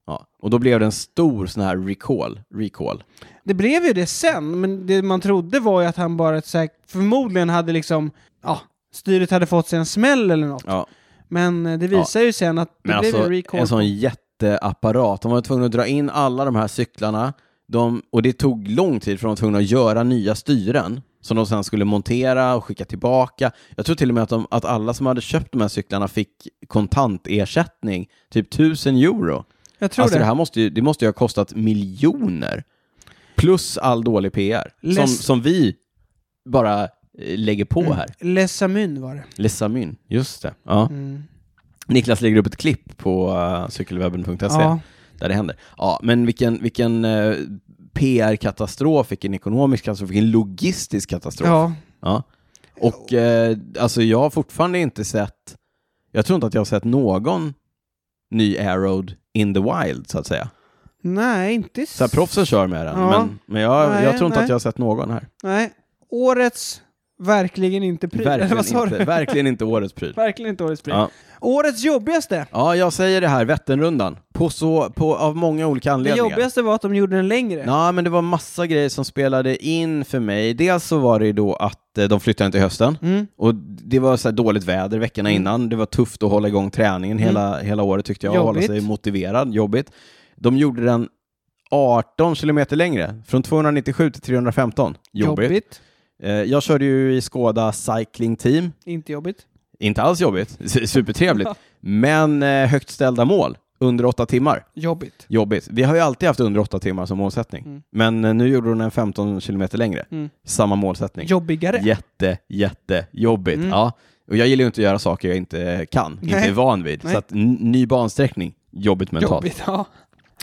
A: Ja. Och då blev det en stor sån här recall. recall.
B: Det blev ju det sen, men det man trodde var ju att han bara ett säk- förmodligen hade liksom, ja, styret hade fått sig en smäll eller något.
A: Ja.
B: Men eh, det visar ju sen att det
A: Men
B: blev
A: alltså,
B: en recall.
A: en sån jätteapparat. De var tvungna att dra in alla de här cyklarna. De, och det tog lång tid för de var tvungna att göra nya styren som de sen skulle montera och skicka tillbaka. Jag tror till och med att, de, att alla som hade köpt de här cyklarna fick kontantersättning, typ 1000 euro.
B: Jag tror
A: alltså det.
B: det.
A: här måste ju, det måste ju ha kostat miljoner. Plus all dålig PR. Som,
B: Läs-
A: som vi bara eh, lägger på här.
B: Les Amun var det.
A: Lesamyn, just det. Ja.
B: Mm.
A: Niklas lägger upp ett klipp på eh, cykelwebben.se
B: Ja.
A: där det händer. Ja, men vilken, vilken eh, PR-katastrof, vilken ekonomisk katastrof, vilken logistisk katastrof.
B: ja.
A: Ja. Och eh, alltså jag har fortfarande inte sett, jag tror inte att jag har sett någon ny Aeroad in the wild så att säga.
B: Nej, inte i s-
A: Så här, proffsen kör med den,
B: Ja.
A: men, men jag,
B: Nej,
A: jag tror inte
B: nej.
A: att jag har sett någon här.
B: Nej. Årets verkligen inte pryl. Eller vad
A: Verkligen
B: sa
A: inte,
B: du?
A: verkligen inte årets pryl.
B: Verkligen inte årets pryl.
A: Ja.
B: Årets jobbigaste.
A: ja, jag säger det här, Vätternrundan, på så, på, av många olika
B: Det
A: anledningar.
B: jobbigaste var att de gjorde den längre.
A: Ja, men det var massa grejer som spelade in för mig. Dels så var det ju då att eh, de flyttade till hösten
B: Mm.
A: och det var så här dåligt väder veckorna innan. Det var tufft att hålla igång träningen hela, hela året tyckte jag, och hålla
B: Mm. Jobbigt.
A: sig motiverad, jobbigt. De gjorde den 18 kilometer längre, från 297 till 315. Jobbigt.
B: jobbigt.
A: Eh, Jag körde ju i Skoda Cycling Team,
B: Inte jobbigt.
A: inte alls jobbigt, supertrevligt, men eh, högt ställda mål under åtta timmar.
B: Jobbigt.
A: Jobbigt. Vi har ju alltid haft under åtta timmar som målsättning.
B: Mm.
A: Men eh, nu gjorde hon en 15 kilometer längre.
B: Mm.
A: Samma målsättning.
B: Jobbigare.
A: Jätte, jätte jobbigt.
B: Mm.
A: Ja. Och jag gillar ju inte att göra saker jag inte eh, kan, inte
B: Nej.
A: är van vid.
B: Nej.
A: Så att n- ny bansträckning, jobbigt mentalt.
B: Jobbigt, ja.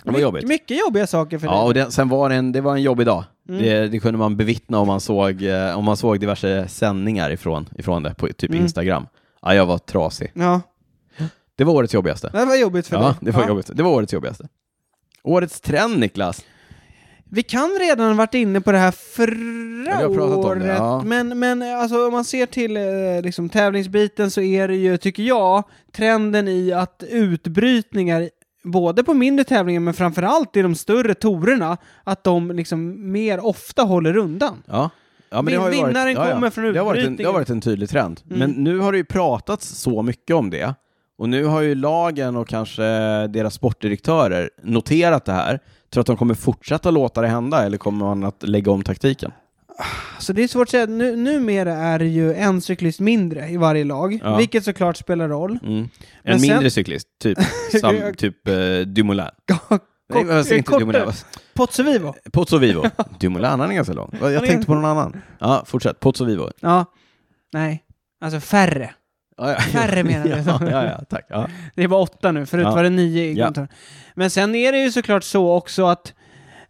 A: Det var jobbigt.
B: Mycket jobbiga saker för
A: Ja,
B: dig.
A: och det, sen var det en, det var en jobbig dag.
B: Mm.
A: Det, det kunde man bevittna om man såg, eh, om man såg diverse sändningar ifrån, ifrån det på typ
B: Mm.
A: Instagram. Ja, jag var trasig.
B: Ja,
A: Det var årets jobbigaste.
B: det var jobbigt för
A: Ja,
B: dig.
A: det var
B: Ja.
A: jobbigt. Det var årets jobbigaste. Årets trend, Niklas.
B: Vi kan redan ha varit inne på det här
A: Ja, vi
B: förra
A: har pratat om
B: året,
A: det, ja.
B: men, men alltså, om man ser till eh, liksom, tävlingsbiten så är det ju, tycker jag, trenden i att utbrytningar både på mindre tävlingar men framförallt i de större torerna, att de liksom mer ofta håller undan.
A: Ja. Ja,
B: Vin- vinnaren kommer från
A: det har, varit en, det
B: utbrytningen.
A: har varit en tydlig trend.
B: Mm.
A: Men nu har det ju pratats så mycket om det. Och nu har ju lagen och kanske deras sportdirektörer noterat det här. Tror att de kommer fortsätta låta det hända eller kommer man att lägga om taktiken?
B: Så det är svårt att säga, nu, numera är det ju en cyklist mindre i varje lag,
A: Ja.
B: vilket såklart spelar roll.
A: Mm.
B: Men
A: En
B: sen-
A: mindre cyklist, typ, sam, typ eh, Dumoulin. Nej, men jag säger inte
B: kortare.
A: Dumoulin. vad-
B: Pozzovivo.
A: Pozzo Vivo. Dumoulin, han är ganska lång. Va, Jag
B: är-
A: tänkte på någon annan. Ja, fortsätt. Pozzo Vivo.
B: Ja, nej, alltså färre.
A: Ja, ja.
B: Färre menar du?
A: ja, ja, ja, tack. Ja.
B: Det var åtta nu, förut
A: Ja.
B: var det nio i
A: Ja.
B: kontoren. Men sen är det ju såklart så också att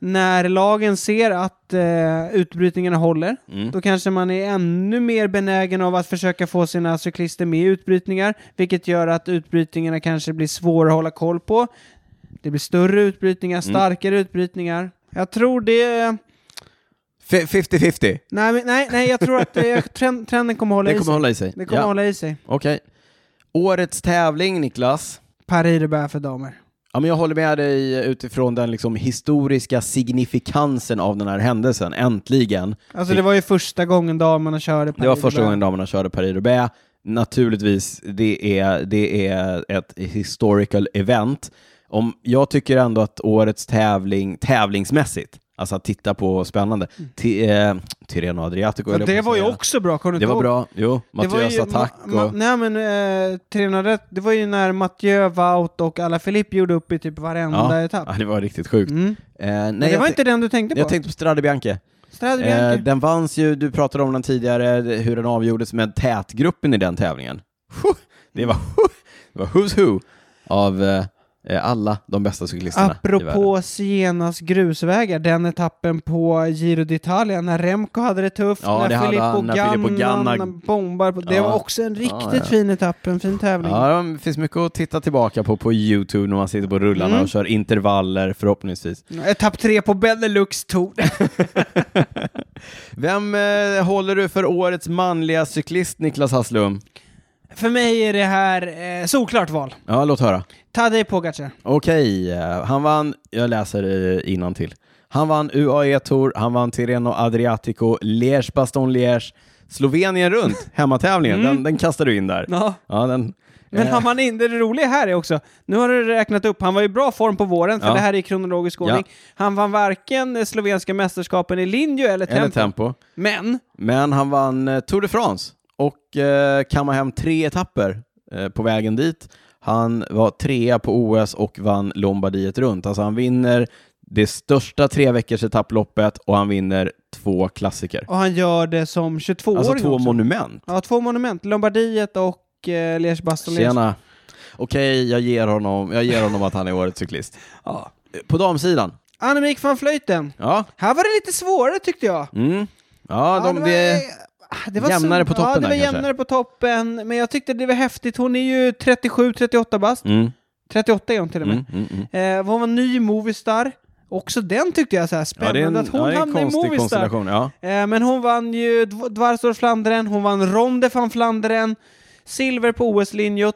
B: när lagen ser att eh, utbrytningarna håller,
A: Mm.
B: då kanske man är ännu mer benägen av att försöka få sina cyklister med i utbrytningar, vilket gör att utbrytningarna kanske blir svåra att hålla koll på. Det blir större
A: Mm.
B: utbrytningar, starkare utbrytningar. Jag tror det...
A: F- 50-50.
B: Nej, men- nej, nej jag tror att eh, trend, trenden kommer hålla
A: Det
B: i
A: kommer
B: sig.
A: hålla i sig.
B: Det kommer
A: ja.
B: hålla i sig.
A: Okej. Årets tävling, Niklas.
B: Paris Rebär för damer.
A: Ja, men jag håller med dig utifrån den liksom historiska signifikansen av den här händelsen. Äntligen.
B: Alltså det var ju första gången damerna körde Paris
A: Det var första
B: Rebär.
A: gången damerna körde Paris-Roubaix. Naturligtvis, det är, det är ett historical event. Om, jag tycker ändå att årets tävling, tävlingsmässigt, alltså att titta på spännande, ti, eh, Tirreno Adriatico
B: Mm.
A: höll jag
B: Ja,
A: på
B: det
A: att
B: var ju
A: säga.
B: också bra, kommer du
A: Det
B: inte
A: var
B: ihåg?
A: bra, jo.
B: Det var
A: Mattias
B: ju
A: attack och...
B: ma- ma- nej men eh, 300 rätt, det var ju när Mathieu, Wout och Alaphilippe gjorde upp i typ varenda
A: ja.
B: etapp.
A: ja, det var riktigt sjukt.
B: Mm.
A: Eh,
B: Nej,
A: nej,
B: det
A: jag,
B: var
A: t-
B: inte den du tänkte på?
A: jag tänkte på Strade Bianche.
B: Strade
A: Eh,
B: Bianchi.
A: den vanns ju, du pratade om den tidigare, hur den avgjordes med tätgruppen i den tävlingen. Huh, Det var, huh, det var who's who av eh, eh, alla de bästa cyklisterna i världen.
B: Apropå Sienas grusvägar, den etappen på Giro d'Italia när Remco hade det tufft,
A: Ja,
B: när,
A: det hade han, när Filippo
B: Filippo Ganna
A: Ganna-
B: bombar. På, det
A: Ja.
B: var också en riktigt
A: Ja, ja.
B: fin etapp, en fin tävling.
A: Ja, det finns mycket att titta tillbaka på på YouTube när man sitter på rullarna
B: Mm.
A: och kör intervaller förhoppningsvis.
B: Etapp tre på Benelux Tour.
A: Vem eh, håller du för årets manliga cyklist, Niklas Hasslum?
B: För mig är det här eh, solklart val.
A: Ja, låt höra.
B: Tadej Pogacar.
A: Okej, eh, han vann, jag läser innan till. Han vann UAE Tour, han vann Tirreno Adriatico, Liège Baston Liège, Slovenien runt, hemmatävlingen, den, den kastar du in där.
B: Ja.
A: Ja, den,
B: Mm. Men
A: eh,
B: han man in, det roliga här är också, nu har du räknat upp, han var i bra form på våren, för
A: Ja.
B: det här är i kronologisk ordning. Han vann varken eh, slovenska mästerskapen i linje eller tempo.
A: eller tempo.
B: Men,
A: Men han vann eh, Tour de France och eh, kammade hem tre etapper eh, på vägen dit. Han var trea på OS och vann Lombardiet runt. Alltså han vinner det största tre veckors etapploppet och han vinner två klassiker.
B: och han gör det som 22-åring
A: Alltså två
B: också.
A: monument.
B: Ja, två monument. Lombardiet och eh, Liège Bastogne.
A: Tjena. Okej, jag ger honom, jag ger honom att han är årets cyklist.
B: Ja.
A: På damsidan?
B: Annemiek van Vleuten.
A: Ja.
B: Här var det lite svårare tyckte jag.
A: Mm. Ja,
B: Ja,
A: de, det,
B: ah, det var
A: jämnare
B: sunt.
A: på toppen
B: Ja,
A: där,
B: det var
A: kanske.
B: jämnare på toppen. Men jag tyckte det var häftigt. Hon är ju 37-38 bast.
A: mm,
B: 38 är hon till och med.
A: mm, mm, mm.
B: Eh, hon var ny i Movistar. Också den tyckte jag så här
A: Ja,
B: spännande
A: det är en,
B: att hon
A: ja, det är en
B: hamnade i
A: konstig
B: Movistar.
A: konstellation. Ja.
B: Eh, men hon vann ju Dv- Dwars door Flandern, hon vann Ronde van Flandern, silver på OS-linjot,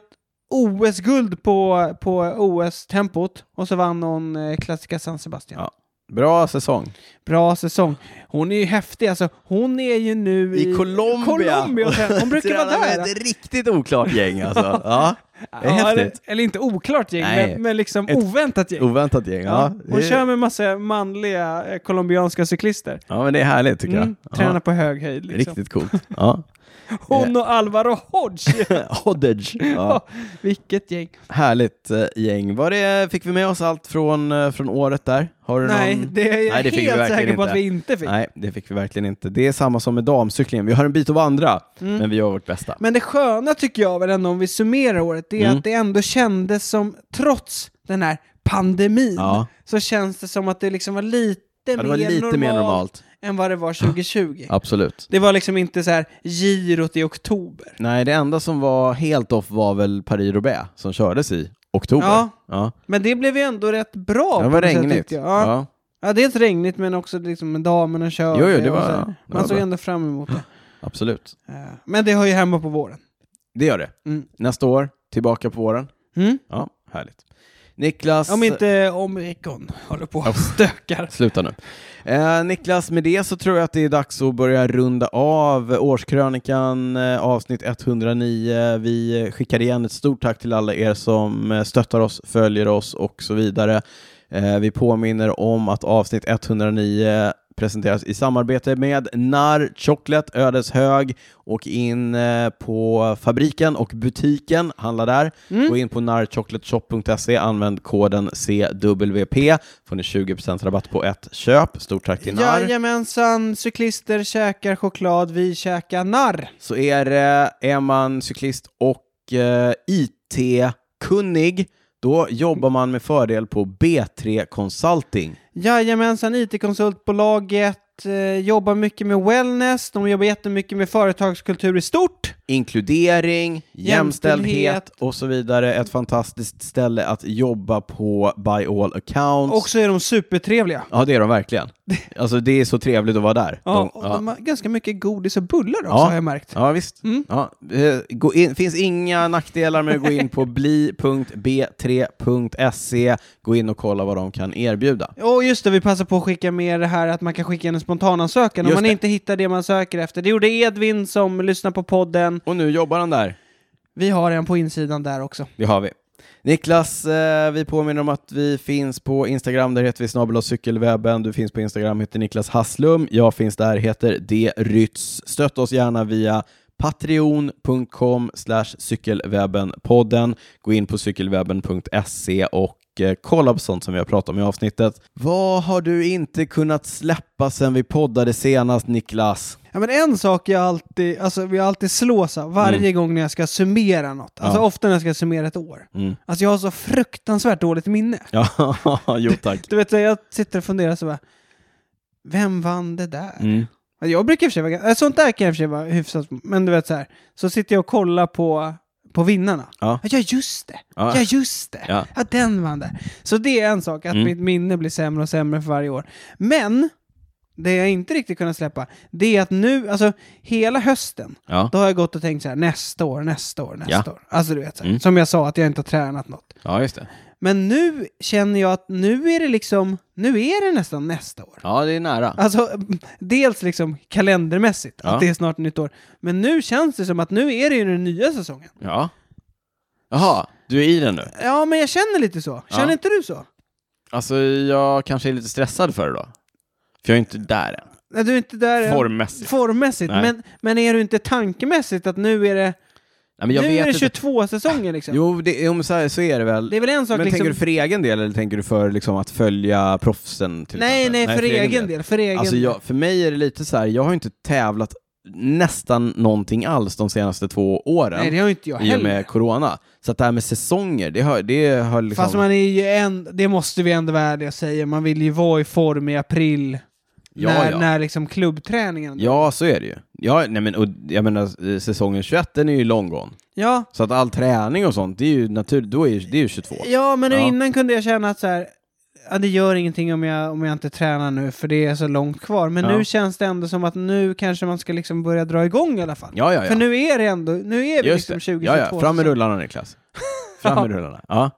B: OS-guld på, på OS-tempot och så vann hon eh, Classica San Sebastian.
A: Ja. Bra säsong.
B: Bra säsong. Hon är ju häftig alltså. Hon är ju nu i, Colombia och sen- hon brukar vara
A: Tränar med
B: där.
A: Ett riktigt oklart gäng alltså. Ja, det är
B: eller,
A: häftigt.
B: eller inte oklart gäng,
A: Nej.
B: men, men liksom
A: Ett-
B: oväntat gäng.
A: Oväntat gäng. Ja,
B: Ja, hon
A: det,
B: kör med massa manliga eh, colombianska cyklister.
A: ja men det är härligt tycker
B: Mm,
A: jag.
B: tränar
A: Ja,
B: på hög höjd. Liksom.
A: Riktigt eh, coolt. Ja.
B: Hon och Alvaro Hodge.
A: Hoddage. Ja.
B: Vilket gäng.
A: Härligt eh, gäng. Var det, fick vi med oss allt från, eh, från året där? Har du
B: Nej,
A: någon...
B: det är jag
A: Nej, det fick vi
B: helt
A: verkligen
B: säker på
A: inte.
B: att vi inte fick.
A: Nej, det fick vi verkligen inte. Det är samma som med damcyklingen. Vi har en bit att vandra, men vi gör vårt bästa.
B: Mm. Men det sköna tycker jag väl ändå om vi summerar året, det är
A: Mm.
B: att det ändå kändes som, trots den här pandemin,
A: Ja.
B: så känns det som att det liksom var lite,
A: Ja, det var
B: mer,
A: lite
B: normalt
A: mer normalt.
B: än vad det var 2020.
A: Absolut.
B: Det var liksom inte så här girot i oktober.
A: Nej, det enda som var helt off var väl Paris-Roubaix som kördes i oktober.
B: Ja.
A: ja.
B: Men det blev ju ändå rätt bra.
A: Det
B: på
A: var
B: något sätt,
A: regnigt.
B: tyckte jag. Ja. Ja.
A: Ja.
B: dels regnigt men också liksom med damerna körde.
A: Jo, jo, det
B: och
A: var-
B: så här.
A: ja, det
B: Man
A: var
B: såg
A: bra.
B: ändå fram emot det.
A: Absolut.
B: Eh, Men det hör ju hemma på våren.
A: Det gör det.
B: Mm.
A: Nästa år, tillbaka på våren.
B: Mm?
A: Ja, härligt. Niklas...
B: Om inte Omrikon håller på och stökar.
A: Sluta nu. Eh, Niklas, med det så tror jag att det är dags att börja runda av årskrönikan eh, avsnitt 109. Vi eh, skickar igen ett stort tack till alla er som eh, stöttar oss, följer oss och så vidare. Eh, vi påminner om att avsnitt 109 presenteras i samarbete med Narr Chocolate Ödeshög. och in eh, på fabriken och butiken, handla där. Gå in på narrchocolateshop.se, använd koden CWP, får ni 20% rabatt på ett köp. Stort tack till Narr.
B: Jajamensan, cyklister käkar choklad, vi käkar narr.
A: så är, det- är man cyklist och eh, IT-kunnig, då jobbar man med fördel på B3 Consulting.
B: Jajamensan, IT-konsultbolaget eh, jobbar mycket med wellness, de jobbar jättemycket med företagskultur i stort.
A: inkludering, jämställdhet,
B: Jämställdhet.
A: och så vidare. Ett fantastiskt ställe att jobba på by all accounts.
B: Och så är de supertrevliga.
A: Ja, det är de verkligen. Alltså det är så trevligt att vara där.
B: Ja,
A: De-
B: och
A: ja.
B: de har ganska mycket godis och bullar också
A: Ja.
B: har jag märkt.
A: Ja, visst.
B: Mm.
A: Ja. eh, Gå in, finns inga nackdelar med att gå in på bli.b3.se. Gå in och kolla vad de kan erbjuda.
B: Och just det, vi passar på att skicka med det här att man kan skicka in en spontanansökan om
A: Just
B: man
A: det.
B: inte hittar det man söker efter. Det gjorde Edvin som lyssnar på podden.
A: Och nu jobbar han där.
B: Vi har en på insidan där också.
A: Det har vi. Niklas, eh, vi påminner om att vi finns på Instagram, där heter vi snabel cykelwebben. Du finns på Instagram, heter Niklas Hasslum. Jag finns där, heter D. Rytz. Stötta oss gärna via patreon.com cykelwebbenpodden. Gå in på cykelwebben.se och eh, kolla på sånt som vi har pratat om i avsnittet. Vad har du inte kunnat släppa sen vi poddade senast, Niklas?
B: Ja, men en sak jag alltid, alltså vi alltid slås av varje gång när jag ska summera något. Alltså
A: Mm. Ja.
B: ofta när jag ska summera ett år.
A: Mm.
B: Alltså jag har så fruktansvärt dåligt minne.
A: Ja, jo tack.
B: Du vet, jag sitter och funderar så bara, vem vann det där?
A: Mm.
B: Men Jag brukar i och för sig vara, gans- äh, sånt där kan jag i och för sig vara hyfsat, men du vet så här, så sitter jag och kollar på, på vinnarna.
A: Ja.
B: ja just det, ja,
A: Ja.
B: just det, ja.
A: Ja.
B: den vann där. Så det är en sak, att
A: Mm.
B: mitt minne blir sämre och sämre för varje år. Men, det jag inte riktigt kunnat släppa, det är att nu, alltså hela hösten,
A: Ja.
B: då har jag gått och tänkt så här, nästa år, nästa år, nästa
A: Ja.
B: år. Alltså du vet, så här,
A: Mm.
B: som jag sa att jag inte har tränat något.
A: ja, just det.
B: Men nu känner jag att nu är det liksom, nu är det nästan nästa år.
A: Ja, det är nära.
B: Alltså, dels liksom kalendermässigt,
A: Ja.
B: att det är snart nytt år. Men nu känns det som att nu är det ju den nya säsongen.
A: Ja. Jaha, du är i den nu?
B: Ja, men jag känner lite så.
A: Ja.
B: Känner inte du så?
A: Alltså, jag kanske är lite stressad för det då. För jag är inte där än.
B: Nej, du är inte där än.
A: Formmässigt.
B: Formmässigt,
A: Nej.
B: men, men är du inte tankemässigt att nu är det,
A: Nej, men jag
B: nu
A: vet
B: är det
A: inte.
B: 22 säsonger liksom?
A: Jo, det, jo men så, här, så är det väl.
B: Det är väl en sak
A: men
B: liksom...
A: tänker du för egen del eller tänker du för liksom, att följa proffsen? Till
B: nej,
A: exempel?
B: nej, för egen del. För egen
A: Alltså,
B: del.
A: jag, för mig är det lite så här, jag har inte tävlat nästan någonting alls de senaste två åren.
B: nej, det har ju inte jag
A: i och
B: heller.
A: med corona. Så att det här med säsonger, det har, det har liksom...
B: Fast man är ju en, det måste vi ändå vara ärliga och säga, man vill ju vara i form i april,
A: Ja,
B: när,
A: ja.
B: när liksom klubbträningen...
A: Ja, så är det ju. Ja, nej, men, och, jag menar, eh, säsongen 21, den är ju lång gång.
B: ja
A: Så att all träning och sånt, det är ju natur, då är ju, det är ju 22.
B: Ja, men
A: Ja.
B: innan kunde jag känna att så här, ja, det gör ingenting om jag, om jag inte tränar nu, för det är så långt kvar. Men
A: Ja.
B: nu känns det ändå som att nu kanske man ska liksom börja dra igång i alla fall.
A: Ja, ja, ja.
B: För nu är det ändå, nu är vi
A: Just
B: liksom
A: det. Ja,
B: 2022.
A: ja. Fram med rullarna Niklas. Fram med rullarna. Ja.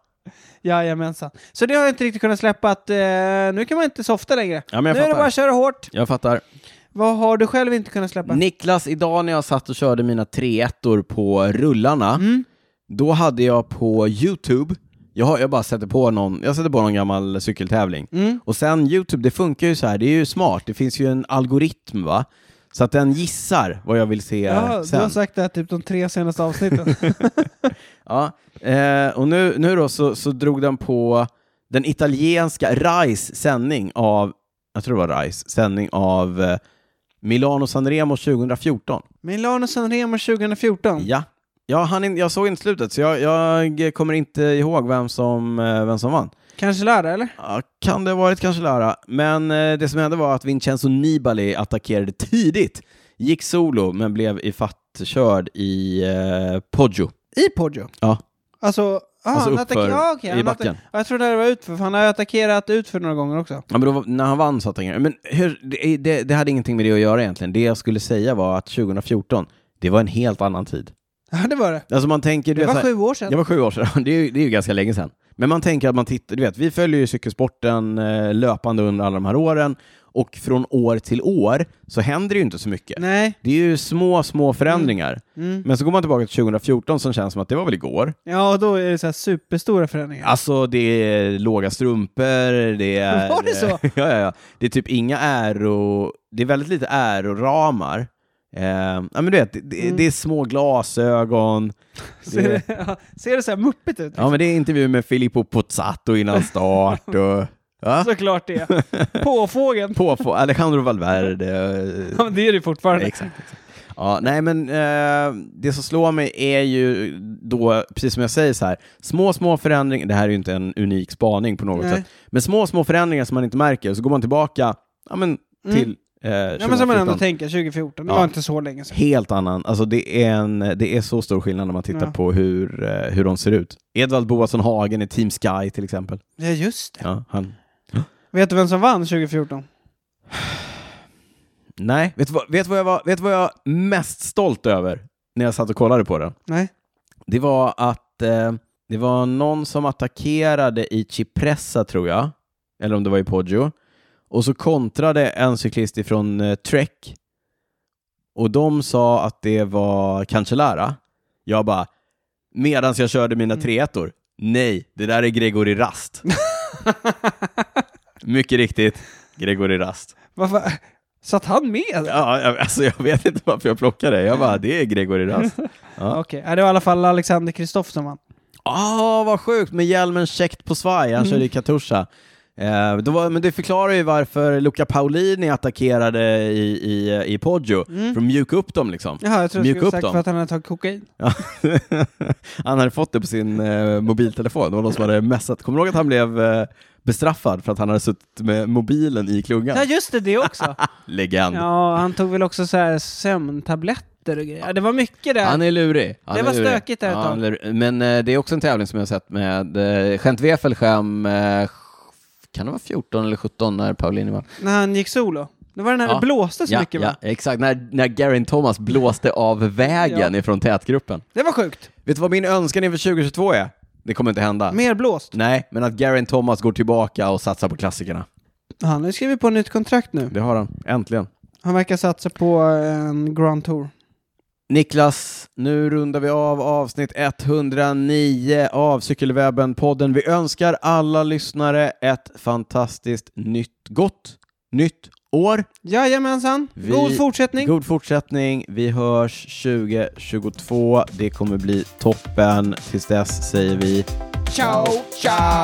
B: Jajamensan. Så det har jag inte riktigt kunnat släppa att eh, nu kan man inte softa längre.
A: Ja, men
B: nu
A: jag
B: är det
A: fattar.
B: bara att köra hårt.
A: Jag fattar.
B: Vad har du själv inte kunnat släppa?
A: Niklas, idag när jag satt och körde mina 3 på rullarna,
B: Mm.
A: då hade jag på YouTube, jag, har, jag bara sätter på någon, jag sätter på någon gammal cykeltävling.
B: Mm.
A: Och sen YouTube, det funkar ju så här, det är ju smart, det finns ju en algoritm va? Så att den gissar vad jag vill se
B: Ja, du har
A: sen.
B: sagt det här typ de tre senaste avsnitten.
A: Ja, eh, och nu, nu då så, så drog den på den italienska RAIs sändning av, jag tror det var RAIs sändning av eh, Milano Sanremo 2014.
B: Milano Sanremo 2014.
A: Ja, ja han in, jag såg inte slutet så jag, jag kommer inte ihåg vem som, eh, vem som vann.
B: Kanske lördag, eller?
A: Ja, kan det ha varit kanske Lara, men eh, det som hände var att Vincenzo Nibali attackerade tidigt, gick solo men blev ifattkörd i eh, Poggio.
B: I Poggio?
A: Ja.
B: Alltså, ah,
A: Alltså
B: han
A: uppför-
B: attacker- ja, okej,
A: i
B: han attack-
A: backen.
B: Ja, Jag trodde det var utför, för han har ju attackerat utför några gånger också.
A: Ja, men då, var- när han vann så att han Men hur, det, det, det hade ingenting med det att göra egentligen. Det jag skulle säga var att 2014, det var en helt annan tid.
B: Ja, det var det.
A: Alltså man tänker... Du
B: Det
A: vet,
B: var
A: så här-
B: sju år sedan.
A: Det var sju år sedan. Det är, ju, det är ju ganska länge sedan. Men man tänker att man tittar... Du vet, vi följer ju cykelsporten eh, löpande under alla de här åren och från år till år så händer det ju inte så mycket.
B: Nej.
A: Det är ju små, små förändringar.
B: Mm.
A: Men så går man tillbaka till 2014 som känns som att det var väl igår.
B: Ja, och då är det så här superstora förändringar.
A: Alltså det är låga strumpor, det är...
B: Var det så?
A: ja, ja, ja. Det är typ inga äro... Det är väldigt lite äroramar. Eh, ja, men du vet, det, det-
B: Mm.
A: det är små glasögon.
B: ser, det, ja, ser det så här muppigt ut?
A: Ja, men det är intervju med Filippo Pozzato innan start och... Ja?
B: Såklart det. Påfågeln.
A: På, på Alejandro Valverde.
B: Ja, men det är det ju fortfarande.
A: Exakt. exakt. Ja, nej men eh, det som slår mig är ju då, precis som jag säger så här, små, små förändringar, det här är ju inte en unik spaning på något
B: Nej.
A: sätt, men små, små förändringar som man inte märker, så går man tillbaka ja, men, till Eh,
B: Ja, men som man ändå
A: 2014.
B: tänker, 2014, det
A: Ja.
B: var inte så länge sedan.
A: Helt annan, alltså det är, en, det är så stor skillnad när man tittar
B: Ja.
A: på hur, eh, hur de ser ut. Edvald Boasson Hagen i Team Sky till exempel.
B: Ja, just det.
A: Ja, han.
B: Vet du vem som vann 2014?
A: Nej, vet du, vad, vet, du vad jag var, vet du vad jag var mest stolt över när jag satt och kollade på den?
B: Nej?
A: Det var att eh, det var någon som attackerade i Cipressa, tror jag, eller om det var i Poggio, och så kontrade en cyklist ifrån eh, Trek och de sa att det var Cancellara. Jag bara, medan jag körde mina
B: Mm.
A: treettor, nej, det där är Gregory Rast. Mycket riktigt, Gregory Rast.
B: Varför? Satt han med? Okej,
A: Ja, jag- alltså jag vet inte varför jag plockade det. Jag bara, det är Gregory Rast. Ja.
B: ja, det var i alla fall Alexander Kristoff som vann.
A: Ah, vad sjukt! Med hjälmen käckt på svaj. Han körde i Katusha. Eh, då var, men det förklarar ju varför Luca Paulini attackerade i, i, i Poggio. För att mjuka upp dem liksom.
B: Jaha, jag tror du
A: Mjuka
B: skulle
A: upp
B: sagt
A: dem.
B: för att han hade tagit kokain.
A: Ja. han hade fått det på sin eh, mobiltelefon. Det var någon som hade messat. Kommer du ihåg att han blev eh, bestraffad för att han hade suttit med mobilen i klungan?
B: Ja, just det, det också.
A: Legend.
B: Ja, han tog väl också så här sömntabletter och grejer. Ja, det var mycket där.
A: Han är lurig. Han
B: Det
A: är
B: var
A: lurig.
B: stökigt där ett
A: Ja,
B: tag.
A: han är lurig. Men eh, det är också en tävling som jag har sett med eh, Gent Wefelschem, eh, kan det vara 14 eller 17 när Paulini vann?
B: När han gick solo. Det var den här
A: Ja.
B: det blåste så
A: Ja,
B: mycket
A: ja
B: va?
A: exakt. När, när Garin Thomas blåste av vägen ifrån tätgruppen.
B: Det var sjukt.
A: Vet du vad min önskan inför 2022 är? Det kommer inte hända.
B: Mer blåst.
A: Nej, men att Garin Thomas går tillbaka och satsar på klassikerna.
B: Han har ju skrivit på nytt kontrakt nu.
A: Det har han, äntligen.
B: Han verkar satsa på en Grand Tour.
A: Niklas, nu rundar vi av avsnitt 109 av Cykelwebben-podden. Vi önskar alla lyssnare ett fantastiskt nytt, gott nytt år.
B: Jajamensan.
A: Vi-
B: God fortsättning.
A: God fortsättning. Vi hörs 2022. Det kommer bli toppen. Tills dess säger vi
B: Ciao, ciao.